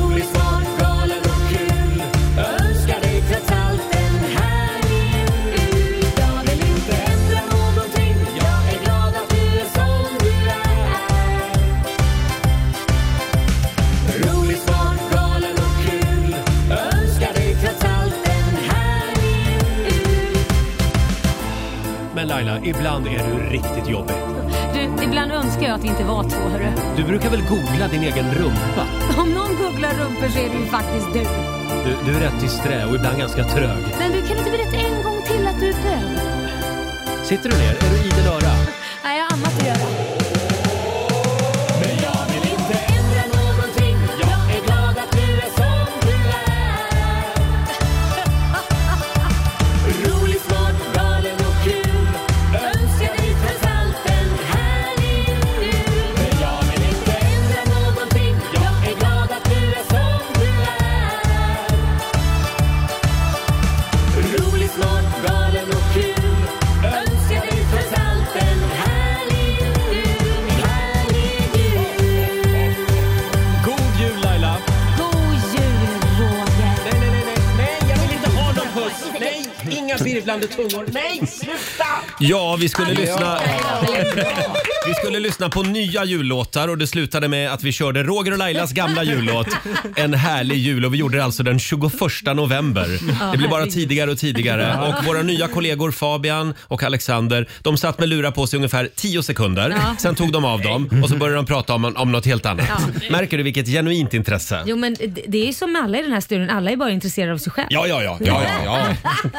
Speaker 6: Rolig, smart, galen och kul. Jag önskar dig trots allt en härlig jul. Jag vill inte ändra någonting. Jag är glad att du är som du är. Rolig, smart, galen och kul. Jag önskar dig trots allt en härlig jul.
Speaker 1: Men Laila, ibland är du riktigt jobbig.
Speaker 13: Du, ibland önskar jag att vi inte var två, hörru.
Speaker 1: Du brukar väl googla din egen rumpa?
Speaker 13: Om någon googlar rumpor så är det ju faktiskt du.
Speaker 1: Du, du är rätt disträ och ibland ganska trög.
Speaker 13: Men du, kan inte berätta en gång till att du är bög?
Speaker 1: Sitter du ner? Är du idel öra?
Speaker 13: Nej, jag har annat att göra.
Speaker 6: Men jag vill inte ändra någonting. Jag är glad att du är som du är. Rolig, smart, galen och kul. Önskar dig trots allt en härlig jul. Men jag vill inte ändra någonting. Jag är glad att du är som du är. Rolig, smart, galen och kul. Önskar dig trots allt en härlig jul. Härlig jul.
Speaker 1: God jul Laila!
Speaker 13: God jul, Roger.
Speaker 1: Nej, nej, nej, nej, nej, jag vill inte ha någon puss! Nej, inga virvlande tungor! Nej, sluta! Ja, vi skulle lyssna... Vi skulle lyssna på nya jullåtar och det slutade med att vi körde Roger och Lailas gamla jullåt En härlig jul och vi gjorde det alltså den 21 november.
Speaker 14: Ja,
Speaker 1: Det blir bara
Speaker 14: herregud.
Speaker 1: tidigare och tidigare och våra nya kollegor Fabian och Alexander de satt med lurar på sig ungefär 10 sekunder.
Speaker 2: Ja.
Speaker 1: Sen tog de av dem och så började de prata om, om något helt annat.
Speaker 2: Ja.
Speaker 1: Märker du vilket genuint intresse?
Speaker 2: Jo men det- det är ju som med alla i den här studion, alla är bara intresserade av sig själv.
Speaker 1: Ja, ja, ja. ja, ja, ja.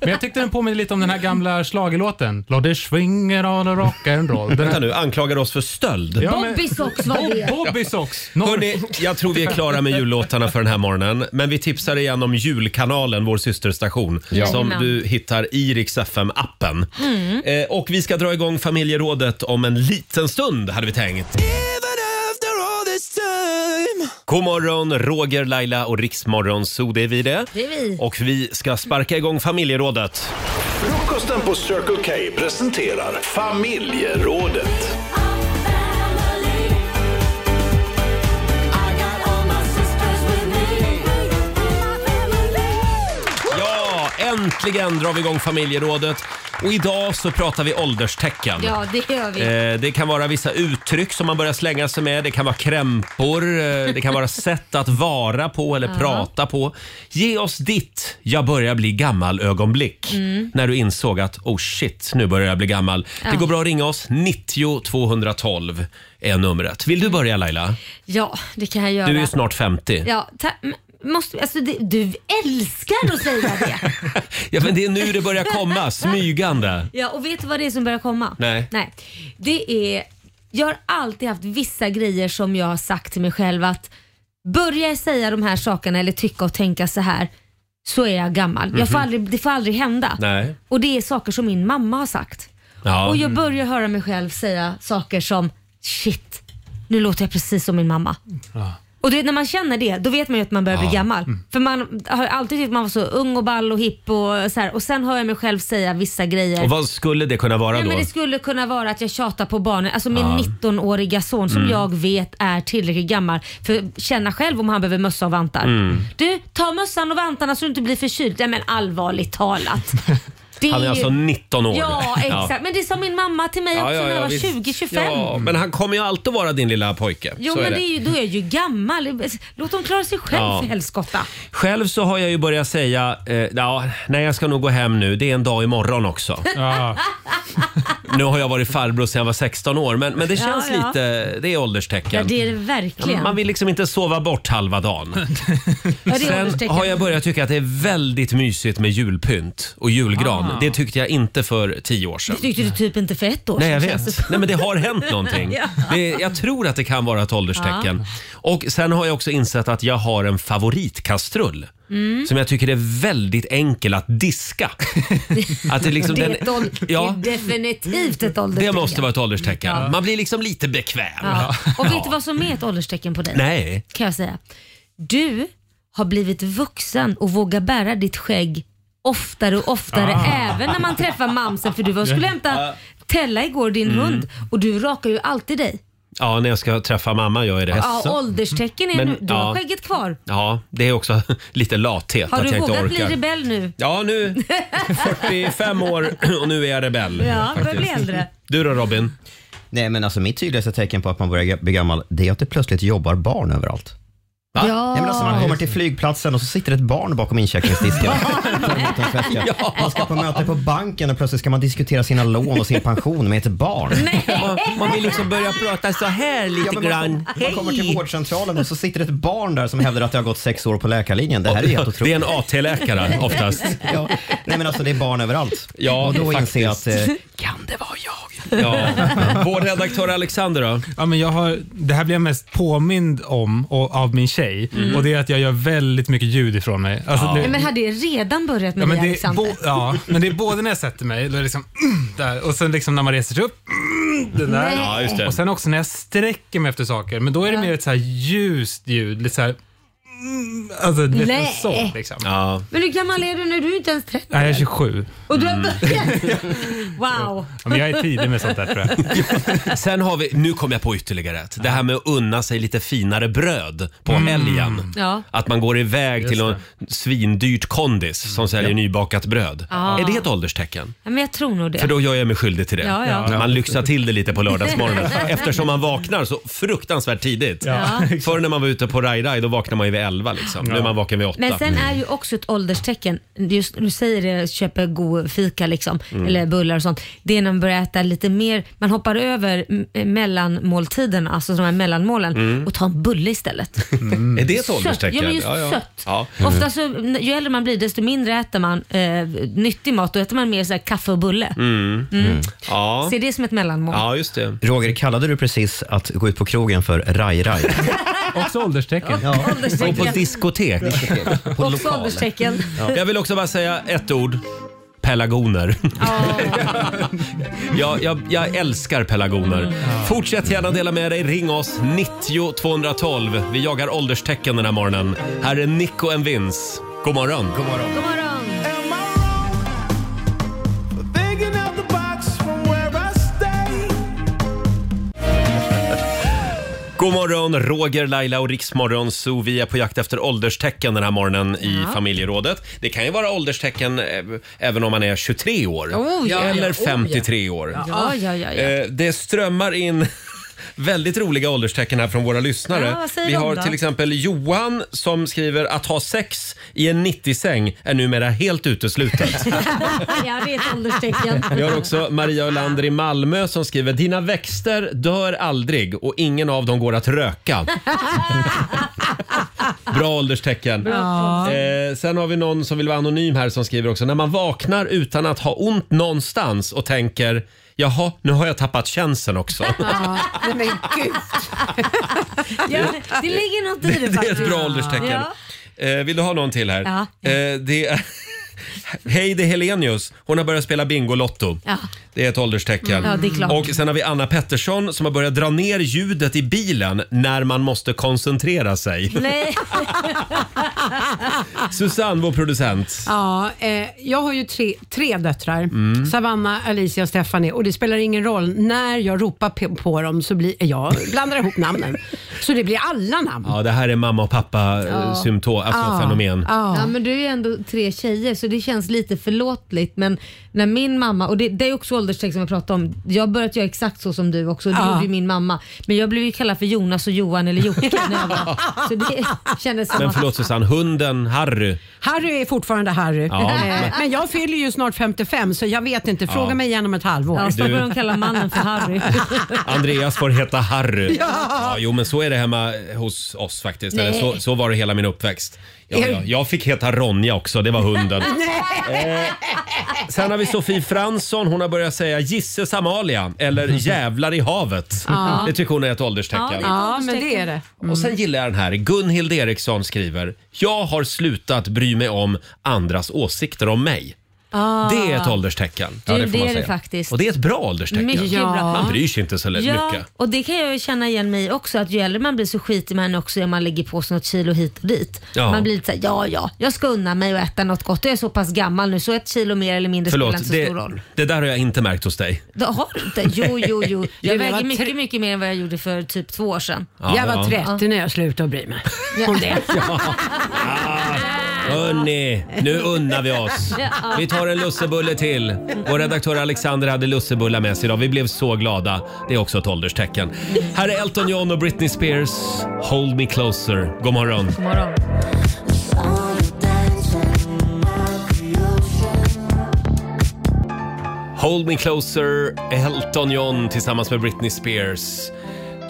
Speaker 7: Men jag tyckte den påminner lite om den här gamla schlagerlåten. Låt det svinga och rock'n'roll. Den
Speaker 1: Vänta
Speaker 7: här-
Speaker 1: nu, anklagar oss för stöld?
Speaker 7: Ja, men-
Speaker 2: Bobby Socks var det.
Speaker 7: Bob- Bobby Socks.
Speaker 1: Hörrni, jag tror vi är klara med jullåtarna för den här morgonen. Men vi tipsar igen om Julkanalen, vår systerstation,
Speaker 2: Ja.
Speaker 1: som
Speaker 2: Jajamän.
Speaker 1: du hittar i Rix FM-appen.
Speaker 2: Mm.
Speaker 1: Eh, och vi ska dra igång familjerådet om en liten stund, hade vi tänkt. God morgon, Roger, Laila och Riksmorgon, så det är vi det.
Speaker 2: Det är vi.
Speaker 1: Och vi ska sparka igång familjerådet.
Speaker 15: Frukosten på Circle K presenterar familjerådet.
Speaker 1: Ja, äntligen drar vi igång familjerådet. Och idag så pratar vi ålderstecken.
Speaker 2: Ja, det gör vi.
Speaker 1: Eh, Det kan vara vissa uttryck som man börjar slänga sig med. Det kan vara krämpor. eh, Det kan vara sätt att vara på eller
Speaker 2: Ja.
Speaker 1: prata på. Ge oss ditt “jag börjar bli gammal”-ögonblick.
Speaker 2: Mm.
Speaker 1: När du insåg att “oh shit, nu börjar jag bli gammal”.
Speaker 2: Ja.
Speaker 1: Det går bra att ringa oss. 90 212 är numret. Vill du börja Laila?
Speaker 2: Ja, det kan jag göra.
Speaker 1: Du är ju snart 50. Ja.
Speaker 2: Ja, ta- m- måste, alltså, det, du älskar att säga det.
Speaker 1: men det är nu det börjar komma, smygande.
Speaker 2: Ja, och vet du vad det är som börjar komma?
Speaker 1: Nej.
Speaker 2: Nej. Det är, jag har alltid haft vissa grejer som jag har sagt till mig själv att börjar jag säga de här sakerna eller tycka och tänka så här så är jag gammal. Jag får
Speaker 1: Mhm.
Speaker 2: aldrig, det får aldrig hända.
Speaker 1: Nej.
Speaker 2: Och det är saker som min mamma har sagt.
Speaker 1: Ja.
Speaker 2: Och jag börjar höra mig själv säga saker som shit, nu låter jag precis som min mamma. Och du vet, när man känner det, då vet man ju att man börjar
Speaker 1: Ja.
Speaker 2: bli gammal.
Speaker 1: Mm.
Speaker 2: För man har ju alltid tyckt att man var så ung och ball och hipp och så här. Och sen hör jag mig själv säga vissa grejer.
Speaker 1: Och vad skulle det kunna vara
Speaker 2: Nej,
Speaker 1: då?
Speaker 2: men det skulle kunna vara att jag tjatar på barnen, alltså min
Speaker 1: Ja.
Speaker 2: 19-åriga son som
Speaker 1: Mm.
Speaker 2: jag vet är tillräckligt gammal för att känna själv om han behöver mössa och vantar.
Speaker 1: Mm.
Speaker 2: Du, ta mössan och vantarna så du inte blir förkyld. Nej men allvarligt talat. Det
Speaker 1: Han är
Speaker 2: ju-
Speaker 1: alltså 19 år.
Speaker 2: Ja, exakt. Men det sa min mamma till mig också när jag var
Speaker 1: visst.
Speaker 2: 20-25.
Speaker 1: Ja, men han kommer ju alltid vara din lilla pojke.
Speaker 2: Jo,
Speaker 1: Så
Speaker 2: men
Speaker 1: är
Speaker 2: det.
Speaker 1: det.
Speaker 2: är ju, då är jag ju gammal. Låt dem klara sig själv
Speaker 1: Ja.
Speaker 2: för helskotta.
Speaker 1: Själv så har jag ju börjat säga, eh, ja, nej jag ska nog gå hem nu, det är en dag imorgon också. nu har jag varit farbror sedan jag var 16 år, men, men det
Speaker 2: Ja,
Speaker 1: känns
Speaker 2: ja.
Speaker 1: lite... Det är ålderstecken.
Speaker 2: Ja, det är det verkligen.
Speaker 1: Man vill liksom inte sova bort halva dagen.
Speaker 2: Ja, det är
Speaker 1: Sen
Speaker 2: ålderstecken.
Speaker 1: har jag börjat tycka att det är väldigt mysigt med julpynt och julgran.
Speaker 2: Ah.
Speaker 1: Det tyckte jag inte för tio år
Speaker 2: Det
Speaker 1: sedan.
Speaker 2: tyckte du typ inte för ett år
Speaker 1: Nej, jag
Speaker 2: sedan, känns det
Speaker 1: vet.
Speaker 2: som.
Speaker 1: Nej, men det har hänt någonting.
Speaker 2: Ja.
Speaker 1: Det, jag tror att det kan vara ett ålderstecken. Och sen har jag också insett att jag har en favoritkastrull.
Speaker 2: Mm.
Speaker 1: Som jag tycker är väldigt enkel att diska. Att det, liksom,
Speaker 2: det, är
Speaker 1: den-
Speaker 2: ett ål-
Speaker 1: ja,
Speaker 2: det är definitivt ett
Speaker 1: det
Speaker 2: ålderstecken.
Speaker 1: måste vara ett ålderstecken. Man blir liksom lite bekväm.
Speaker 2: Ja. Och vet du vad som är ett ålderstecken på dig?
Speaker 1: Nej.
Speaker 2: Kan jag säga. Du har blivit vuxen och vågar bära ditt skägg oftare och oftare
Speaker 8: Ah.
Speaker 2: även när man träffar mamsen för du var skulle hämta Tella igår, din
Speaker 1: Mm.
Speaker 2: hund, och du rakar ju alltid dig.
Speaker 1: Ja, när jag ska träffa mamma gör jag det.
Speaker 2: Ja, ålderstecken är
Speaker 1: Men,
Speaker 2: nu, du
Speaker 1: ja.
Speaker 2: har skägget kvar.
Speaker 1: Ja, det är också lite lathet
Speaker 2: Har
Speaker 1: att
Speaker 2: du
Speaker 1: jag inte
Speaker 2: vågat bli
Speaker 1: orkar.
Speaker 2: rebell nu?
Speaker 1: Ja, nu 45 år och nu är jag rebell.
Speaker 2: Ja, börjar bli
Speaker 1: faktiskt.
Speaker 2: äldre.
Speaker 1: Du då Robin?
Speaker 5: Nej, men alltså mitt tydligaste tecken på att man börjar bli gammal, det är att det plötsligt jobbar barn överallt.
Speaker 1: Va?
Speaker 2: Ja.
Speaker 5: Nej, men alltså man kommer till flygplatsen och så sitter ett barn bakom incheckningsdisken. Tar emot en väska. Man ska på möte på banken och plötsligt ska man diskutera sina lån och sin pension med ett barn.
Speaker 1: Man, vill liksom börja prata så här lite
Speaker 5: Ja, men man,
Speaker 1: grann.
Speaker 5: man kommer till vårdcentralen och så sitter ett barn där som hävdar att det har gått sex år på läkarlinjen. Det här är helt otroligt.
Speaker 1: Det är en AT-läkare oftast.
Speaker 5: Ja. Nej men alltså det är barn överallt.
Speaker 1: Ja,
Speaker 5: och då inser jag
Speaker 1: faktiskt.
Speaker 5: att eh,
Speaker 1: Kan det vara jag? Ja. Vår redaktör Alexander då?
Speaker 7: Ja, men jag har, det här blir jag mest påmind om och, av min tjej
Speaker 2: Mm.
Speaker 7: och det är att jag gör väldigt mycket ljud ifrån mig. Alltså,
Speaker 2: Nej,
Speaker 7: det-
Speaker 2: Men hade det redan börjat med det,
Speaker 7: Ja, men, det är
Speaker 2: Alexander?
Speaker 7: bo- ja, men det är både när jag sätter mig, då är det liksom mm, där, och sen liksom när man reser sig upp, mm, det där.
Speaker 2: Nej. Ja, just det.
Speaker 7: Och sen också när jag sträcker mig efter saker, men då är det mer ett så här ljust ljud, lite så här, mm, alltså lite
Speaker 2: Nej.
Speaker 7: så liksom.
Speaker 1: Ja.
Speaker 2: Men hur gammal är du nu? Du är inte ens 30.
Speaker 7: Nej, jag är 27.
Speaker 2: Och du har
Speaker 1: Mm.
Speaker 2: börjat? Wow.
Speaker 7: Ja, men jag är tidig med sånt där tror jag.
Speaker 1: Sen har vi, nu kom jag på ytterligare ett. Det här med att unna sig lite finare bröd på helgen.
Speaker 2: Mm. Ja.
Speaker 1: Att man går iväg till någon svindyrt kondis som säljer nybakat bröd.
Speaker 2: Mm. Ja.
Speaker 1: Är det ett ålderstecken?
Speaker 2: Ja, men jag tror nog det.
Speaker 1: För då gör jag mig skyldig till det.
Speaker 2: Ja, ja.
Speaker 1: Man lyxar till det lite på lördagsmorgonen eftersom man vaknar så fruktansvärt tidigt.
Speaker 2: Ja.
Speaker 1: Förr när man var ute på Rai Rai då vaknar man ju vid elva liksom. Nu är man vaken vid åtta.
Speaker 2: Men sen är ju också ett ålderstecken, just du säger det, köper god fika liksom,
Speaker 1: Mm.
Speaker 2: eller bullar och sånt. Det är när man börjar äta lite mer, man hoppar över m- eh, mellanmåltiderna, alltså de här mellanmålen
Speaker 1: Mm.
Speaker 2: och tar en bulle istället.
Speaker 1: Är det ett
Speaker 2: Sött.
Speaker 1: ålderstecken?
Speaker 2: Ja, men just sött.
Speaker 1: Ja. Mm.
Speaker 2: Ofta så, ju äldre man blir desto mindre äter man eh, nyttig mat, då äter man mer så här kaffe och bulle.
Speaker 1: Mm.
Speaker 2: Mm.
Speaker 1: Ja.
Speaker 2: Se det som ett mellanmål.
Speaker 1: Ja, just det.
Speaker 5: Roger, kallade du precis att gå ut på krogen för raj-raj?
Speaker 7: Också ålderstecken.
Speaker 1: Gå på diskotek.
Speaker 2: På Också lokal. ålderstecken. Ja.
Speaker 1: Jag vill också bara säga ett ord. Pelagoner. jag, jag, jag älskar pelagoner. Fortsätt gärna dela med dig. Ring oss 90 212. Vi jagar ålderstecken den här morgonen. Här är Nico and Vince. God morgon. God morgon.
Speaker 2: God morgon.
Speaker 11: Thinking out the box from where I stay.
Speaker 1: God morgon, Roger, Laila och Riksmorgon Så Vi är på jakt efter ålderstecken den här morgonen i
Speaker 2: Ja.
Speaker 1: familjerådet. Det kan ju vara ålderstecken eh, även om man är 23 år
Speaker 2: Oh, ja,
Speaker 1: eller
Speaker 2: ja, oh, ja.
Speaker 1: 53 år.
Speaker 2: Ja, ja, ja, ja.
Speaker 1: Eh, Det strömmar in väldigt roliga ålderstecken här från våra lyssnare.
Speaker 2: Ja, vad säger
Speaker 1: Vi
Speaker 2: de
Speaker 1: har
Speaker 2: då?
Speaker 1: till exempel Johan som skriver att ha sex i en 90-säng är numera helt uteslutet.
Speaker 2: ja, det är ett ålderstecken.
Speaker 1: Vi har också Maria Ölander i Malmö som skriver “Dina växter dör aldrig och ingen av dem går att röka”. Bra ålderstecken.
Speaker 11: Bra.
Speaker 1: Eh, sen har vi någon som vill vara anonym här som skriver också “När man vaknar utan att ha ont någonstans och tänker “Jaha, nu har jag tappat känseln också”.
Speaker 2: Ja.
Speaker 6: Nej, men gud.
Speaker 2: Ja, det ligger något i
Speaker 1: Det
Speaker 2: det
Speaker 1: är
Speaker 2: faktiskt.
Speaker 1: ett bra ålderstecken.
Speaker 2: Ja.
Speaker 1: Eh, vill du ha någon till här?
Speaker 2: Ja.
Speaker 1: Eh, det är Heidi Helenius, hon har börjat spela Bingolotto.
Speaker 2: Ja.
Speaker 1: Det är ett ålderstecken.
Speaker 2: Ja, det är klart.
Speaker 1: Och sen har vi Anna Pettersson som har börjat dra ner ljudet i bilen när man måste koncentrera sig.
Speaker 2: Nej.
Speaker 1: Susanne, vår producent.
Speaker 6: Ja, eh, jag har ju tre, tre döttrar.
Speaker 1: Mm.
Speaker 6: Savanna, Alicia och Stephanie. Och det spelar ingen roll. När jag ropar pe- på dem så blir jag blandar eh, ihop namnen. Så det blir alla namn.
Speaker 1: Ja, det här är mamma och pappa
Speaker 2: Ja.
Speaker 1: ja. symptom, alltså fenomen.
Speaker 2: Ja. men du är ju ändå tre tjejer så det känns lite förlåtligt. Men när min mamma, och det, det är också ålderstecken som jag pratade om. Jag har börjat göra exakt så som du också. Det
Speaker 8: Ja.
Speaker 2: gjorde ju min mamma. Men jag blev ju kallad för Jonas och Johan eller Jocke när jag var. Så det kändes som
Speaker 1: Men
Speaker 2: att-
Speaker 1: förlåt Susanne, hunden Harry.
Speaker 6: Harry är fortfarande Harry.
Speaker 1: Ja,
Speaker 6: Eh,
Speaker 1: men-
Speaker 6: men... jag fyller ju snart 55 så jag vet inte. Fråga
Speaker 1: Ja.
Speaker 6: mig igen om ett halvår.
Speaker 1: Ja, snart Du- börjar de
Speaker 2: kalla mannen för Harry.
Speaker 1: Andreas får heta Harry.
Speaker 6: Ja.
Speaker 1: jo, men så är det hemma hos oss faktiskt.
Speaker 6: Nej.
Speaker 1: Eller så, så var det hela min uppväxt. Ja,
Speaker 6: Är-
Speaker 1: ja. Jag fick heta Ronja också, det var hunden. Eh, Sen har vi Sofie Fransson. Hon har börjat säga Gisses Amalia eller Jävlar i havet.
Speaker 6: Ja.
Speaker 1: Det tycker hon är ett ålderstecken.
Speaker 6: Ja, men det är det.
Speaker 1: Och sen gillar jag den här. Gunhild Eriksson skriver. Jag har slutat bry mig om andras åsikter om mig.
Speaker 2: Ah.
Speaker 1: Det är ett ålderstecken.
Speaker 2: Du, Ja, det får det man är det säga. faktiskt.
Speaker 1: Och det är ett bra ålderstecken.
Speaker 2: Mycket bra.
Speaker 1: Man bryr sig inte så lätt
Speaker 2: Ja,
Speaker 1: mycket.
Speaker 2: och det kan jag ju känna igen mig i också. Att ju äldre man blir så skiter man också i om man lägger på sig något kilo hit och dit.
Speaker 1: Ja.
Speaker 2: Man blir lite såhär, ja ja, jag ska unna mig att äta något gott. Jag är så pass gammal nu så ett kilo mer eller mindre spelar inte
Speaker 1: Förlåt,
Speaker 2: så
Speaker 1: det,
Speaker 2: stor roll.
Speaker 1: det där har jag inte märkt hos dig.
Speaker 2: Då har du inte? Jo, jo, jo.
Speaker 6: Jag
Speaker 2: Jag
Speaker 6: var
Speaker 2: väger
Speaker 6: tre-
Speaker 2: mycket, mycket mer än vad jag gjorde för typ två år sedan.
Speaker 1: Ja, Jag var ja.
Speaker 6: 30 när jag slutade bry mig om det.
Speaker 1: Hörni, nu unnar vi oss.
Speaker 2: Ja.
Speaker 1: Vi tar en lussebulle till. Vår redaktör Alexander hade lussebullar med sig idag. Vi blev så glada. Det är också ett ålderstecken. Här är Elton John och Britney Spears. Hold me closer. God morgon.
Speaker 2: God morgon.
Speaker 1: Hold me closer, Elton John tillsammans med Britney Spears.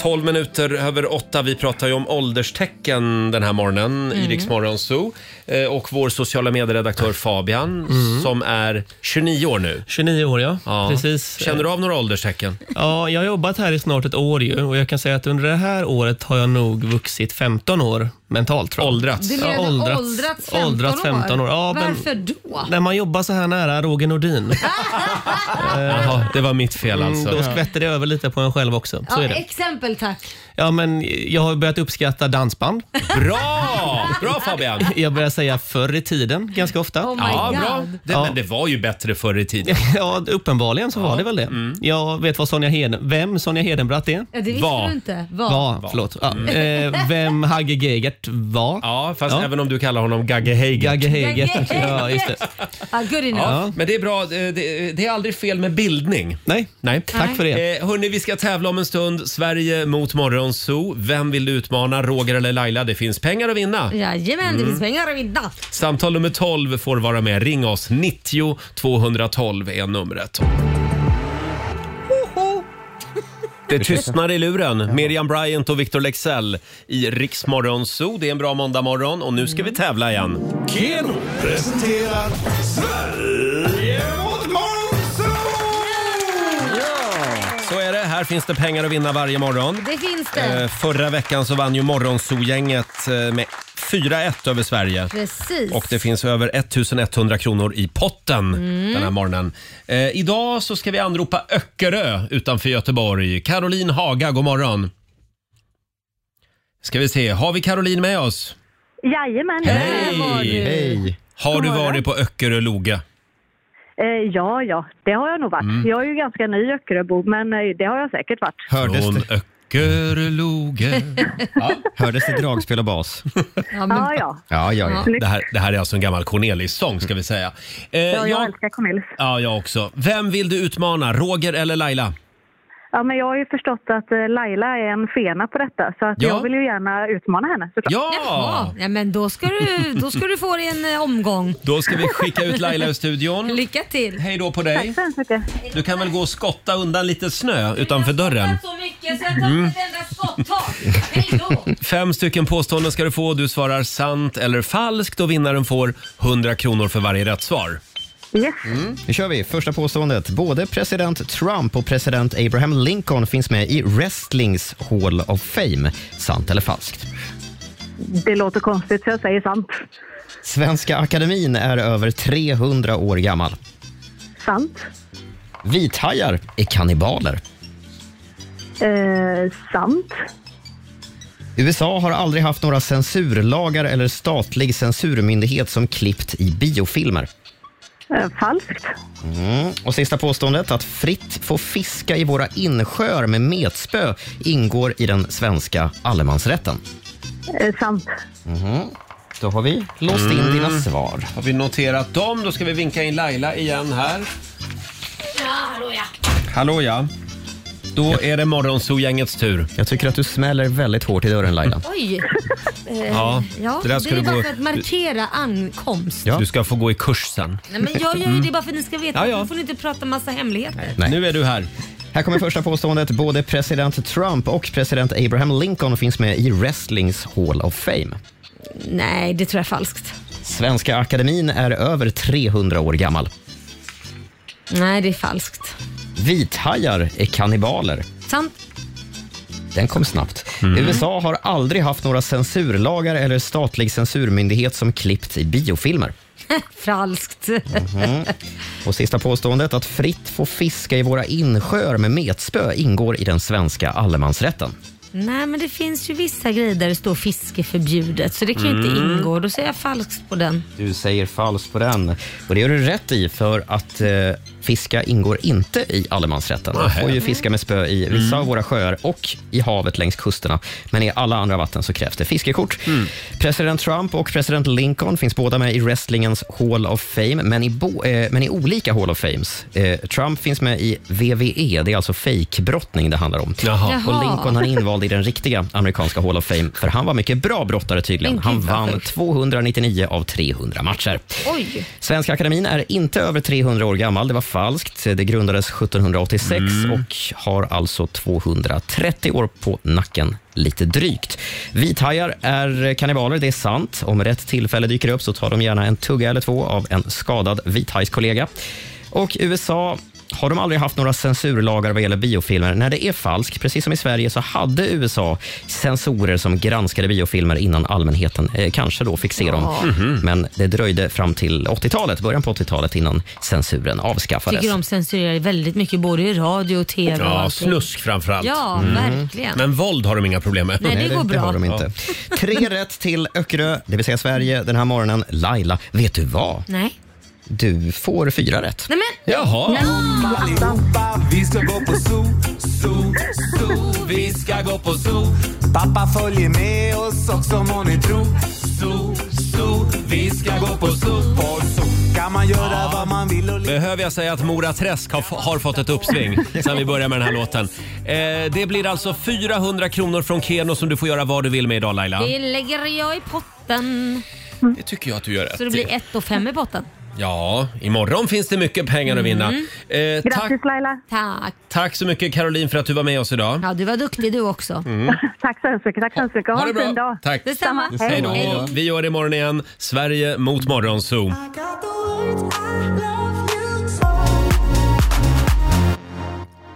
Speaker 1: 12 minuter över åtta. Vi pratar ju om ålderstecken den här morgonen i
Speaker 12: Mm.
Speaker 1: Rix Morgon Zoo. Eh, Och vår sociala medieredaktör Fabian
Speaker 12: Mm.
Speaker 1: som är 29 år nu.
Speaker 12: 29 år ja, precis.
Speaker 1: Känner du av några ålderstecken?
Speaker 12: Ja, jag har jobbat här i snart ett år ju och jag kan säga att under det här året har jag nog vuxit 15 år mentalt. Tror jag.
Speaker 1: Åldrats.
Speaker 2: Du menar
Speaker 12: Ja,
Speaker 2: åldrats, åldrats 15
Speaker 12: åldrats 15 år. Ja, men
Speaker 2: Varför då?
Speaker 12: när man jobbar så här nära Roger Nordin. Jaha,
Speaker 1: det var mitt fel alltså.
Speaker 12: Mm, Då skvätter det över lite på en själv också. Så
Speaker 2: Ja,
Speaker 12: är det.
Speaker 2: exempel tack.
Speaker 12: Ja, men jag har börjat uppskatta dansband.
Speaker 1: Bra! Bra Fabian!
Speaker 12: Jag börjar säga förr i tiden ganska ofta.
Speaker 2: Oh my Ja, God. bra.
Speaker 1: Det, Men det var ju bättre förr i tiden.
Speaker 12: Ja, uppenbarligen så var det väl det. Jag vet vad Sonja Heden, vem Sonja Hedenbratt är.
Speaker 2: Ja, det visste du inte. Vad?
Speaker 12: Var, förlåt. Ja. Eh, vem Hagge Geigert var.
Speaker 1: Ja, fast även om du kallar honom Gagge Heigert.
Speaker 12: Gagge Heigert.
Speaker 2: Gagge Heigert.
Speaker 12: Ja, just det.
Speaker 2: Ah, good enough.
Speaker 1: Ja, men det är bra. Det, det- det är aldrig fel med bildning.
Speaker 12: Nej,
Speaker 1: Nej.
Speaker 12: tack för det.
Speaker 1: Eh, hörni, vi ska tävla om en stund. Sverige mot Morgonzoo. Vem vill du utmana? Roger eller Laila? Det finns pengar att vinna.
Speaker 2: Jajamän, det
Speaker 1: Mm.
Speaker 2: finns pengar att vinna.
Speaker 1: Samtal nummer 12 får vara med. Ring oss. 90 212 är numret. Det tystnar i luren. Miriam Bryant och Victor Lexell i Riks Morgonzoo. Det är en bra måndagmorgon och nu ska vi tävla igen.
Speaker 3: Keno presenterar Sverige mot Monzo!
Speaker 1: Så är det. Här finns det pengar att vinna varje morgon.
Speaker 2: Det finns det.
Speaker 1: Eh, förra veckan så vann ju Morgonzoo-gänget eh, med 4-1 över Sverige.
Speaker 2: Precis.
Speaker 1: Och det finns över 1100 kronor i potten
Speaker 2: Mm.
Speaker 1: den här morgonen. Eh, idag så ska vi anropa Öckerö utanför Göteborg. Caroline Haga, god morgon. Ska vi se, har vi Caroline med oss?
Speaker 4: Jajamän, Hej!
Speaker 1: Hej! Har
Speaker 4: God
Speaker 1: du
Speaker 4: morgon.
Speaker 1: varit på Öckerö Loga?
Speaker 4: Eh, ja, ja, det har jag nog varit.
Speaker 1: Mm.
Speaker 4: Jag är ju ganska ny Öckeröbo, men eh, det har jag säkert varit.
Speaker 5: Hördes
Speaker 1: Från
Speaker 5: det?
Speaker 1: Öckerö Loga.
Speaker 5: Hördes det dragspel och bas?
Speaker 4: Ja,
Speaker 1: Mm.
Speaker 4: men... ja, ja.
Speaker 5: Ja, ja, ja.
Speaker 1: Det här, det här är alltså en gammal Cornelis-sång ska vi säga. Eh,
Speaker 4: ja, jag
Speaker 1: jag-
Speaker 4: älskar Cornelis.
Speaker 1: Ja, jag också. Vem vill du utmana, Roger eller Laila?
Speaker 4: Ja, men jag har ju förstått att eh, Laila är en fena på detta, så att
Speaker 1: Ja.
Speaker 4: jag vill ju gärna utmana henne såklart.
Speaker 1: Ja!
Speaker 2: Ja, ja, men då ska, du, då ska du få dig en eh, omgång.
Speaker 1: Då ska vi skicka ut Laila ur studion.
Speaker 2: Lycka till.
Speaker 1: Hej då på
Speaker 4: Tack
Speaker 1: dig.
Speaker 4: så hemskt mycket.
Speaker 1: Du kan väl gå och skotta undan lite snö utanför dörren.
Speaker 2: så mycket så jag
Speaker 1: tar Mm. inte
Speaker 2: ett enda skottag.
Speaker 1: Fem stycken påståenden ska du få. Du svarar sant eller falskt och vinnaren får 100 kronor för varje rätt svar.
Speaker 5: Mm. Nu kör vi. Första påståendet. Både president Trump och president Abraham Lincoln finns med i wrestlings Hall of Fame. Sant eller falskt?
Speaker 4: Det låter konstigt, så jag säger sant.
Speaker 5: Svenska Akademin är över 300 år gammal.
Speaker 4: Sant.
Speaker 5: Vithajar är kannibaler.
Speaker 4: Eh, sant.
Speaker 5: USA har aldrig haft några censurlagar eller statlig censurmyndighet som klippt i biofilmer.
Speaker 4: Eh, Falskt.
Speaker 5: Mm. Och sista påståendet, att fritt få fiska i våra insjöar med metspö ingår i den svenska allemansrätten.
Speaker 4: Eh, Sant.
Speaker 5: Mhm. Då har vi låst in
Speaker 1: Mm.
Speaker 5: dina svar.
Speaker 1: Har vi noterat dem? Då ska vi vinka in Laila igen här. Hallå ja. Då är det Morgonzoo-gängets tur.
Speaker 5: Jag tycker att du smäller väldigt hårt i dörren Laila.
Speaker 2: Oj! Eh,
Speaker 1: Ja, det där ska
Speaker 2: det är
Speaker 1: du
Speaker 2: bara
Speaker 1: gå-
Speaker 2: för att markera ankomst.
Speaker 1: Du ska få gå i kurs sen.
Speaker 2: Nej, men jag gör ju
Speaker 1: Mm.
Speaker 2: det bara för att ni ska veta.
Speaker 5: Ja,
Speaker 2: Ja,
Speaker 5: ja.
Speaker 2: Nu får ni inte prata massa hemligheter.
Speaker 1: Nu är du här.
Speaker 5: Här kommer första påståendet. Både president Trump och president Abraham Lincoln finns med i wrestlings Hall of Fame.
Speaker 2: Nej, det tror jag är falskt.
Speaker 5: Svenska Akademin är över 300 år gammal.
Speaker 2: Nej, det är falskt.
Speaker 5: Vithajar är kannibaler.
Speaker 2: Sant.
Speaker 5: Den kom snabbt. USA har aldrig haft några censurlagar eller statlig censurmyndighet som klippt i biofilmer.
Speaker 2: falskt.
Speaker 5: Mhm. Och sista påståendet, att fritt få fiska i våra insjöar med metspö ingår i den svenska allemansrätten.
Speaker 2: Nej, men det finns ju vissa grejer där det står fiske förbjudet, så det kan ju inte
Speaker 5: Mm.
Speaker 2: ingå. Då säger jag falskt på den.
Speaker 5: Du säger falskt på den. Och det gör du rätt i, för att eh, fiska ingår inte i allemansrätten. Man får ju fiska med spö
Speaker 2: Mm.
Speaker 5: i vissa av våra sjöar och i havet längs kusterna. Men i alla andra vatten så krävs det fiskekort.
Speaker 2: Mm.
Speaker 5: President Trump och president Lincoln finns båda med i wrestlingens Hall of Fame, men i, bo, eh, men i olika Hall of Fames. Eh, Trump finns med i VVE, det är alltså fejkbrottning det handlar om.
Speaker 2: Jaha.
Speaker 5: Och Lincoln han är invald i den riktiga amerikanska Hall of Fame, för han var mycket bra brottare tydligen.
Speaker 2: Men
Speaker 5: Han
Speaker 2: gud, vad
Speaker 5: vann
Speaker 2: sjukt.
Speaker 5: 299 av 300 matcher.
Speaker 2: Oj!
Speaker 5: Svenska Akademin är inte över 300 år gammal. Det var falskt. Det grundades 1786 och har alltså 230 år på nacken, lite drygt. Vithajar är kannibaler, det är sant. Om rätt tillfälle dyker upp så tar de gärna en tugga eller två av en skadad vithajskollega. Och USA har de aldrig haft några censurlagar vad gäller biofilmer? När det är falskt, precis som i Sverige, så hade USA censorer som granskade biofilmer innan allmänheten eh, kanske då fick se dem.
Speaker 2: Ja. Mhm.
Speaker 5: Men det dröjde fram till 80-talet, början på 80-talet, innan censuren avskaffades.
Speaker 2: Tycker de censurerar väldigt mycket, både i radio och tv. och
Speaker 1: Ja,
Speaker 2: allting.
Speaker 1: snusk framförallt.
Speaker 2: Ja, Mm. verkligen.
Speaker 1: Men våld har de inga problem med.
Speaker 2: Nej, det går bra.
Speaker 5: har de inte. Tre rätt till Öckerö, det vill säga Sverige, den här morgonen. Laila, vet du vad?
Speaker 2: Nej.
Speaker 5: Du får fyra rätt.
Speaker 2: Nej, men.
Speaker 5: Jaha.
Speaker 3: Allihopa, vi ska gå på zoo, zoo, zoo. Vi ska gå på zoo. Pappa följer med oss också må ni tro. Zoo, zoo. Vi ska gå på zoo. På zoo kan man göra vad man vill och
Speaker 1: Behöver jag säga att Mora Träsk har, har fått ett uppsving sen vi började med den här låten. Eh, det blir alltså 400 kronor från Keno som du får göra vad du vill med idag Laila.
Speaker 2: Det lägger jag i potten.
Speaker 1: Det tycker jag att du gör rätt
Speaker 2: Så det
Speaker 1: i.
Speaker 2: blir 1 och 5 i potten.
Speaker 1: Ja, imorgon finns det mycket pengar att vinna.
Speaker 2: Mm.
Speaker 1: Eh, tack,
Speaker 2: Laila. Tack.
Speaker 1: tack så mycket Caroline för att du var med oss idag.
Speaker 2: Ja, du var duktig du också.
Speaker 1: Mm.
Speaker 4: Tack så hemskt mycket. Tack så hemskt mycket. Ha, en fin dag.
Speaker 1: Tack.
Speaker 2: Detsamma.
Speaker 1: Hej då. Vi gör det imorgon igen. Sverige mot Morgonzoo.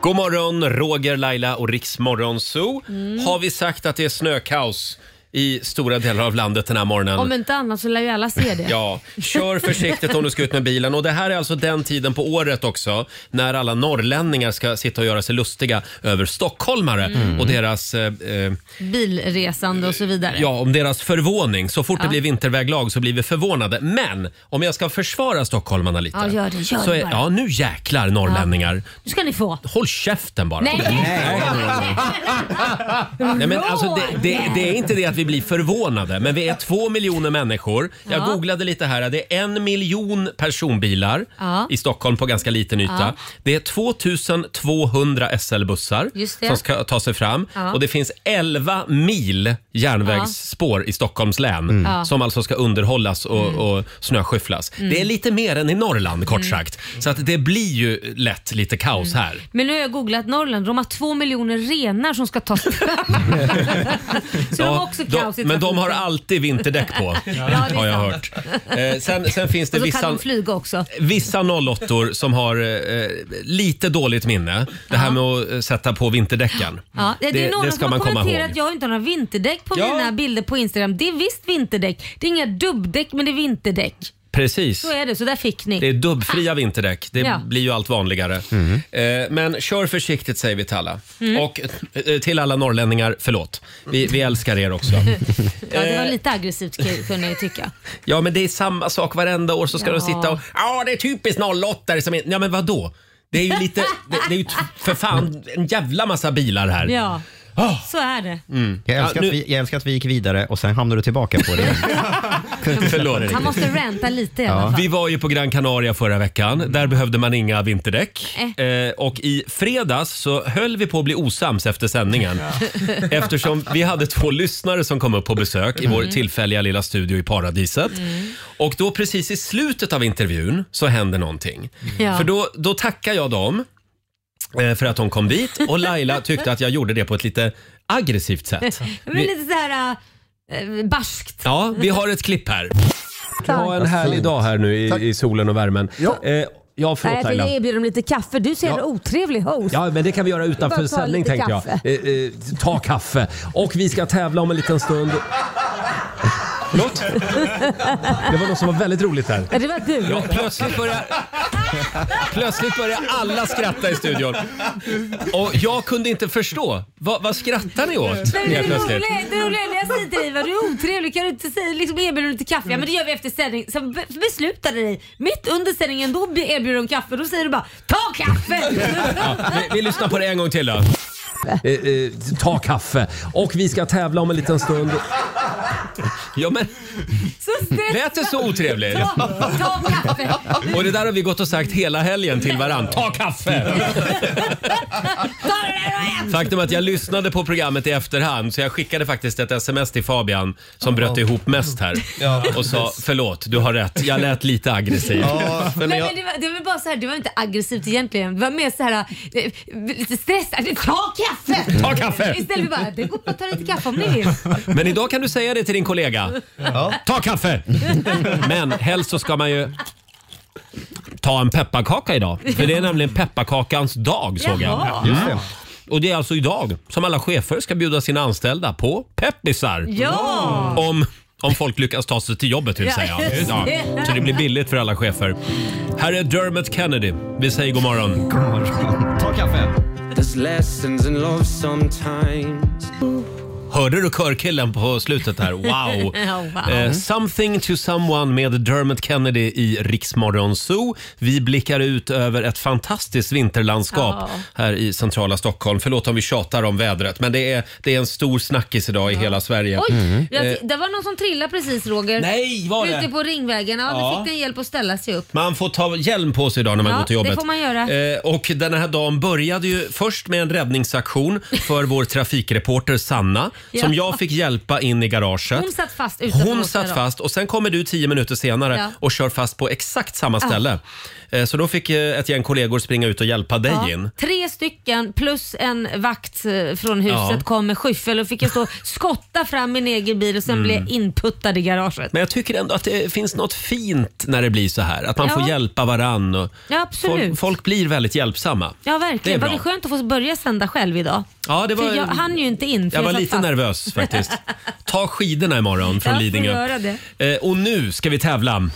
Speaker 1: God morgon, Roger, Laila och Riksmorgonzoo.
Speaker 2: Mm.
Speaker 1: Har vi sagt att det är snökaos i stora delar av landet den här morgonen?
Speaker 2: Om inte annat så lär ju alla se det.
Speaker 1: Ja, kör försiktigt om du ska ut med bilen. Och Det här är alltså den tiden på året också när alla norrlänningar ska sitta och göra sig lustiga över stockholmare
Speaker 2: Mm.
Speaker 1: och deras eh, eh,
Speaker 2: Bilresande och så vidare.
Speaker 1: Ja, om deras förvåning. Så fort det
Speaker 2: Ja.
Speaker 1: blir vinterväglag så blir vi förvånade. Men om jag ska försvara stockholmarna lite.
Speaker 2: Ja, gör det. Gör
Speaker 1: så
Speaker 2: det
Speaker 1: är,
Speaker 2: bara.
Speaker 1: ja, nu jäklar norrlänningar.
Speaker 2: Nu ska ni få.
Speaker 1: Håll käften bara.
Speaker 2: Nej!
Speaker 1: Nej, men alltså, det, det, det är inte det att vi blir förvånade, men vi är två miljoner människor. Jag
Speaker 2: Ja.
Speaker 1: googlade lite här. Det är en miljon personbilar
Speaker 2: Ja.
Speaker 1: i Stockholm på ganska liten yta.
Speaker 2: Ja.
Speaker 1: Det är 2200 SL-bussar
Speaker 2: Just det.
Speaker 1: som ska ta sig fram
Speaker 2: Ja.
Speaker 1: och det finns 11 mil järnvägsspår i Stockholms län
Speaker 2: Mm. Ja.
Speaker 1: som alltså ska underhållas och, och snöskyfflas.
Speaker 2: Mm.
Speaker 1: Det är lite mer än i Norrland kort sagt. Så att det blir ju lätt lite kaos här.
Speaker 2: Men nu har jag googlat Norrland. De har två miljoner renar som ska tas Så de har också kaos i
Speaker 1: men de
Speaker 2: trafiken.
Speaker 1: har alltid vinterdäck på,
Speaker 2: är
Speaker 1: har jag
Speaker 2: sant.
Speaker 1: hört. Eh, sen, sen finns det
Speaker 2: Och så kan
Speaker 1: vissa,
Speaker 2: de flyga också.
Speaker 1: vissa 08 som har eh, lite dåligt minne. Det här med att eh, sätta på vinterdäcken.
Speaker 2: Ja, det, det är någon som har kommenterat att jag inte har några vinterdäck på
Speaker 1: Ja.
Speaker 2: mina bilder på Instagram. Det är visst vinterdäck. Det är inga dubbdäck men det är vinterdäck.
Speaker 1: Precis.
Speaker 2: Så är det, så där fick ni.
Speaker 1: Det är dubbfria vinterdäck. Det
Speaker 2: Ja.
Speaker 1: blir ju allt vanligare. Eh, Men kör försiktigt säger vi till alla.
Speaker 2: Mm.
Speaker 1: Och eh, till alla norrlänningar, förlåt. Vi, vi älskar er också.
Speaker 2: Ja, det var lite aggressivt kul, kunde jag ju tycka.
Speaker 1: Ja, men det är samma sak varenda år så ska
Speaker 2: Ja.
Speaker 1: de sitta och ja, det är typiskt 08 som är... Ja, men vad då? Det är ju lite, det, det är ju t- för fan en jävla massa bilar här.
Speaker 2: Ja,
Speaker 1: Ah.
Speaker 2: så är det.
Speaker 5: Mm. Jag,
Speaker 1: Ja,
Speaker 5: älskar
Speaker 1: nu-
Speaker 5: att vi, jag älskar att vi gick vidare och sen hamnade du tillbaka på det.
Speaker 1: Förlåt.
Speaker 2: Han måste ränta lite i alla fall.
Speaker 1: Vi var ju på Gran Canaria förra veckan. Där behövde man inga vinterdäck.
Speaker 2: Eh.
Speaker 1: Eh, och i fredags så höll vi på att bli osams efter sändningen. Eftersom vi hade två lyssnare som kom upp på besök i vår
Speaker 12: Mm.
Speaker 1: tillfälliga lilla studio i paradiset.
Speaker 2: Mm.
Speaker 1: Och då precis i slutet av intervjun så händer någonting.
Speaker 2: Mm.
Speaker 12: Ja.
Speaker 1: För då, då tackar jag dem eh, för att de kom dit och Laila tyckte att jag gjorde det på ett lite aggressivt sätt.
Speaker 2: Men
Speaker 1: Vi-
Speaker 2: lite såhär äh, barskt.
Speaker 1: Ja, vi har ett klipp här. Ha en
Speaker 2: Tack.
Speaker 1: härlig dag här nu i, i solen och värmen. Ja, eh, ja
Speaker 16: Nej,
Speaker 1: förlåt
Speaker 16: jag vill
Speaker 1: Laila.
Speaker 16: erbjuda dem lite kaffe. Du ser
Speaker 1: Ja.
Speaker 16: en otrevlig host.
Speaker 1: Ja, men det kan vi göra
Speaker 16: Det
Speaker 1: utanför
Speaker 16: är bara att ta
Speaker 1: sändning
Speaker 16: lite
Speaker 1: tänkte jag.
Speaker 16: kaffe.
Speaker 1: Eh, eh, ta kaffe. Och vi ska tävla om en liten stund. Förlåt? Det var något som var väldigt roligt här.
Speaker 16: Ja, det var du.
Speaker 1: Ja, plötsligt börjar... Plötsligt börjar alla skratta i studion. Och jag kunde inte förstå. Vad, vad skrattar ni åt?
Speaker 2: Nej, men
Speaker 1: helt
Speaker 2: det
Speaker 1: plötsligt?
Speaker 2: roliga- det roliga är när jag säger till dig vad du är otrevlig, kan du inte säga, liksom erbjuda lite kaffe? Ja men det gör vi efter sändning. Så be- beslutade dig, mitt under sändningen då be- erbjuder de kaffe, då säger du bara ta kaffe!
Speaker 1: Ja, vi, vi lyssnar på det en gång till då. Eh, eh, ta kaffe. Och vi ska tävla om en liten stund. Ja, men... Lät det så otrevligt?
Speaker 2: Ta, ta kaffe!
Speaker 1: Och det där har vi gått och sagt hela helgen till varann. Ta kaffe! Faktum är att jag lyssnade på programmet i efterhand så jag skickade faktiskt ett sms till Fabian som bröt ihop mest här och sa förlåt, du har rätt. Jag lät lite aggressiv.
Speaker 2: Men, men, det, var, det var bara så här, det var inte aggressivt egentligen. Det var mer så här eh, lite stressat. Ta kaffe!
Speaker 1: Ta kaffe!
Speaker 2: Istället för bara, det går bra att ta lite kaffe om ni vill.
Speaker 1: Men idag kan du säga det till din kollega. Ta kaffe! Men helst så ska man ju ta en pepparkaka idag. För det är nämligen pepparkakans dag såg
Speaker 2: Jaha.
Speaker 1: jag. Mm. Och det är alltså idag som alla chefer ska bjuda sina anställda på peppisar.
Speaker 2: Ja!
Speaker 1: Om, om folk lyckas ta sig till jobbet vill
Speaker 2: Ja,
Speaker 1: säga.
Speaker 2: just
Speaker 1: Ja.
Speaker 2: det.
Speaker 1: Så det blir billigt för alla chefer. Här är Dermot Kennedy. Vi säger god morgon.
Speaker 3: Ta kaffe. There's lessons in love sometimes.
Speaker 1: Hörde du körkillen på slutet här? Wow!
Speaker 3: Ja, wow.
Speaker 1: Eh, something to someone med Dermot Kennedy i Riksmorgon Zoo. Vi blickar ut över ett fantastiskt vinterlandskap
Speaker 12: Ja.
Speaker 1: här i centrala Stockholm. Förlåt om vi tjatar om vädret, men det är, det är en stor snackis idag i hela Sverige.
Speaker 2: Oj,
Speaker 1: Eh,
Speaker 2: jag, det var någon som trillade precis Roger.
Speaker 1: Nej, var det?
Speaker 2: Ute på Ringvägen. Ja,
Speaker 1: Ja.
Speaker 2: Då fick den hjälp att ställa sig upp.
Speaker 1: Man får ta hjälm på sig idag när man
Speaker 2: Ja,
Speaker 1: går till jobbet.
Speaker 2: det får man göra.
Speaker 1: Eh, och den här dagen började ju först med en räddningsaktion för vår trafikreporter Sanna
Speaker 2: Ja.
Speaker 1: som jag fick hjälpa in i garaget.
Speaker 2: Hon satt fast utanför
Speaker 1: Hon
Speaker 2: oss
Speaker 1: satt
Speaker 2: idag.
Speaker 1: fast och sen kommer du tio minuter senare
Speaker 2: Ja.
Speaker 1: och kör fast på exakt samma
Speaker 2: Ja.
Speaker 1: ställe. Eh, Så då fick eh, ett gäng kollegor springa ut och hjälpa dig
Speaker 2: Ja,
Speaker 1: in.
Speaker 2: Tre stycken plus en vakt eh, från huset
Speaker 1: Ja.
Speaker 2: kom med skyffel och fick jag stå skotta fram min egen bil och sen
Speaker 1: Mm.
Speaker 2: blev jag inputtad i garaget.
Speaker 1: Men jag tycker ändå att det finns något fint när det blir så här. Att man
Speaker 2: Ja.
Speaker 1: får hjälpa varann. Och
Speaker 2: Ja, absolut.
Speaker 1: folk, folk blir väldigt hjälpsamma.
Speaker 2: Ja
Speaker 1: Det är
Speaker 2: verkligen.
Speaker 1: bra.
Speaker 2: var det skönt att få börja sända själv idag?
Speaker 1: Ja, det var-
Speaker 2: För jag hann ju inte in. För
Speaker 1: Jag var
Speaker 2: satt
Speaker 1: lite
Speaker 2: fast.
Speaker 1: nervös faktiskt. Ta skidorna imorgon från
Speaker 2: Ja, får
Speaker 1: Lidingö.
Speaker 2: göra det.
Speaker 1: Eh, och nu ska vi tävla.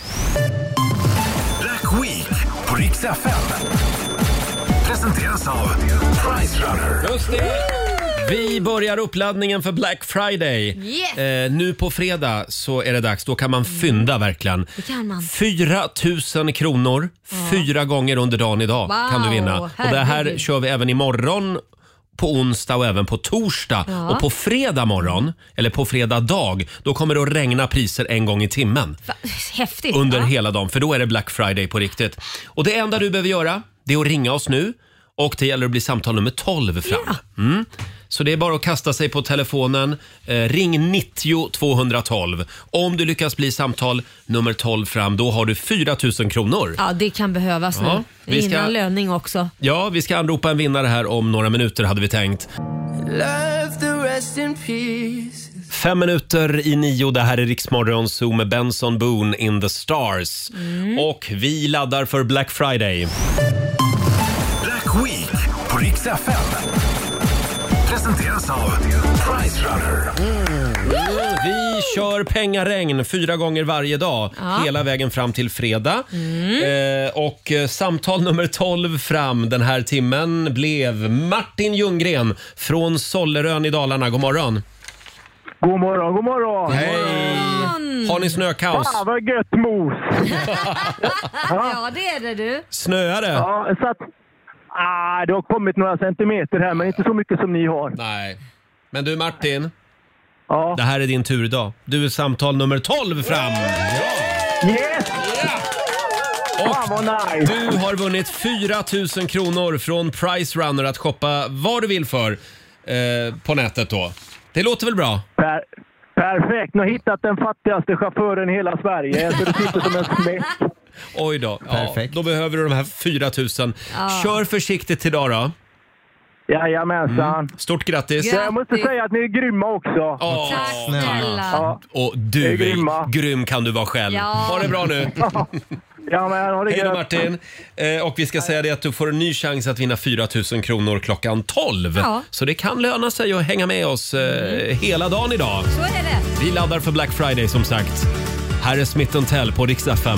Speaker 17: Black Week på Rix FM. Presenteras av Price Runner.
Speaker 1: Just Vi börjar uppladdningen för Black Friday.
Speaker 17: Yes.
Speaker 1: Eh, nu på fredag så är det dags. Då kan man fynda verkligen.
Speaker 2: Mm. Det kan man.
Speaker 1: 4 000 kronor fyra gånger under dagen idag
Speaker 2: Wow,
Speaker 1: kan du vinna. Och det här
Speaker 2: herregud.
Speaker 1: kör vi även imorgon på onsdag och även på torsdag.
Speaker 2: Ja.
Speaker 1: Och på fredag morgon, eller på fredag dag, då kommer det att regna priser en gång i timmen.
Speaker 2: Häftigt.
Speaker 1: under
Speaker 2: va?
Speaker 1: hela dagen för då är det Black Friday på riktigt. Och det enda du behöver göra det är att ringa oss nu och det gäller att bli samtal nummer 12 fram. Mm. Så det är bara att kasta sig på telefonen. Eh, ring 90 212. Om du lyckas bli samtal nummer 12 fram då har du 4 000 kronor.
Speaker 2: Ja, det kan behövas
Speaker 1: Ja,
Speaker 2: nu.
Speaker 1: vi ska-
Speaker 2: Innan löning också.
Speaker 1: Ja, vi ska anropa en vinnare här om några minuter hade vi tänkt.
Speaker 3: Love the rest in peace.
Speaker 1: Fem minuter i nio, det här är Riksmorgon Zoo med Benson Boone in the stars. Och vi laddar för Black Friday.
Speaker 17: Black Week på Rix FM.
Speaker 18: presenteras av Price Runner.
Speaker 1: Vi kör pengaregn fyra gånger varje dag
Speaker 18: Ja.
Speaker 1: hela vägen fram till fredag. Eh, och eh, samtal nummer 12 fram den här timmen blev Martin Ljunggren från Sollerön i Dalarna. God morgon!
Speaker 7: God morgon, god morgon!
Speaker 1: Hej! Har ni snökaos?
Speaker 7: Fan vad gött mos!
Speaker 2: Ja, det är det du.
Speaker 1: Snöar det?
Speaker 7: Ja, så att, ah, det har kommit några centimeter här, men inte så mycket som ni har.
Speaker 1: Nej. Men du Martin, det här är din tur idag. Du är samtal nummer 12 fram.
Speaker 7: Yes!
Speaker 1: Och du har vunnit 4 000 kronor från Price Runner att shoppa vad du vill för eh, på nätet då. Det låter väl bra?
Speaker 7: Per perfekt! Ni har hittat den fattigaste chauffören i hela Sverige, så det sitter som en smäck.
Speaker 1: Oj då. Ja, då behöver du de här 4 000.
Speaker 7: Ja.
Speaker 1: Kör försiktigt idag då.
Speaker 7: Jajamensan.
Speaker 1: Stort Mm. grattis.
Speaker 7: Ja, jag måste säga att ni är grymma också.
Speaker 1: Åh, Tack
Speaker 2: snälla.
Speaker 7: Ja,
Speaker 1: Och
Speaker 7: Det
Speaker 1: du
Speaker 7: är
Speaker 1: är
Speaker 7: grymma.
Speaker 1: grym kan du vara själv.
Speaker 7: Ja.
Speaker 1: Ha det bra nu.
Speaker 7: ja men ha det
Speaker 1: Hej då
Speaker 7: gött.
Speaker 1: Martin. Eh, och vi ska säga det att du får en ny chans att vinna 4 000 kronor klockan 12.
Speaker 2: Ja.
Speaker 1: Så det kan löna sig att hänga med oss eh, hela dagen idag.
Speaker 2: Så är det.
Speaker 1: Vi laddar för Black Friday som sagt. Här är Smith Tell på Rix FM.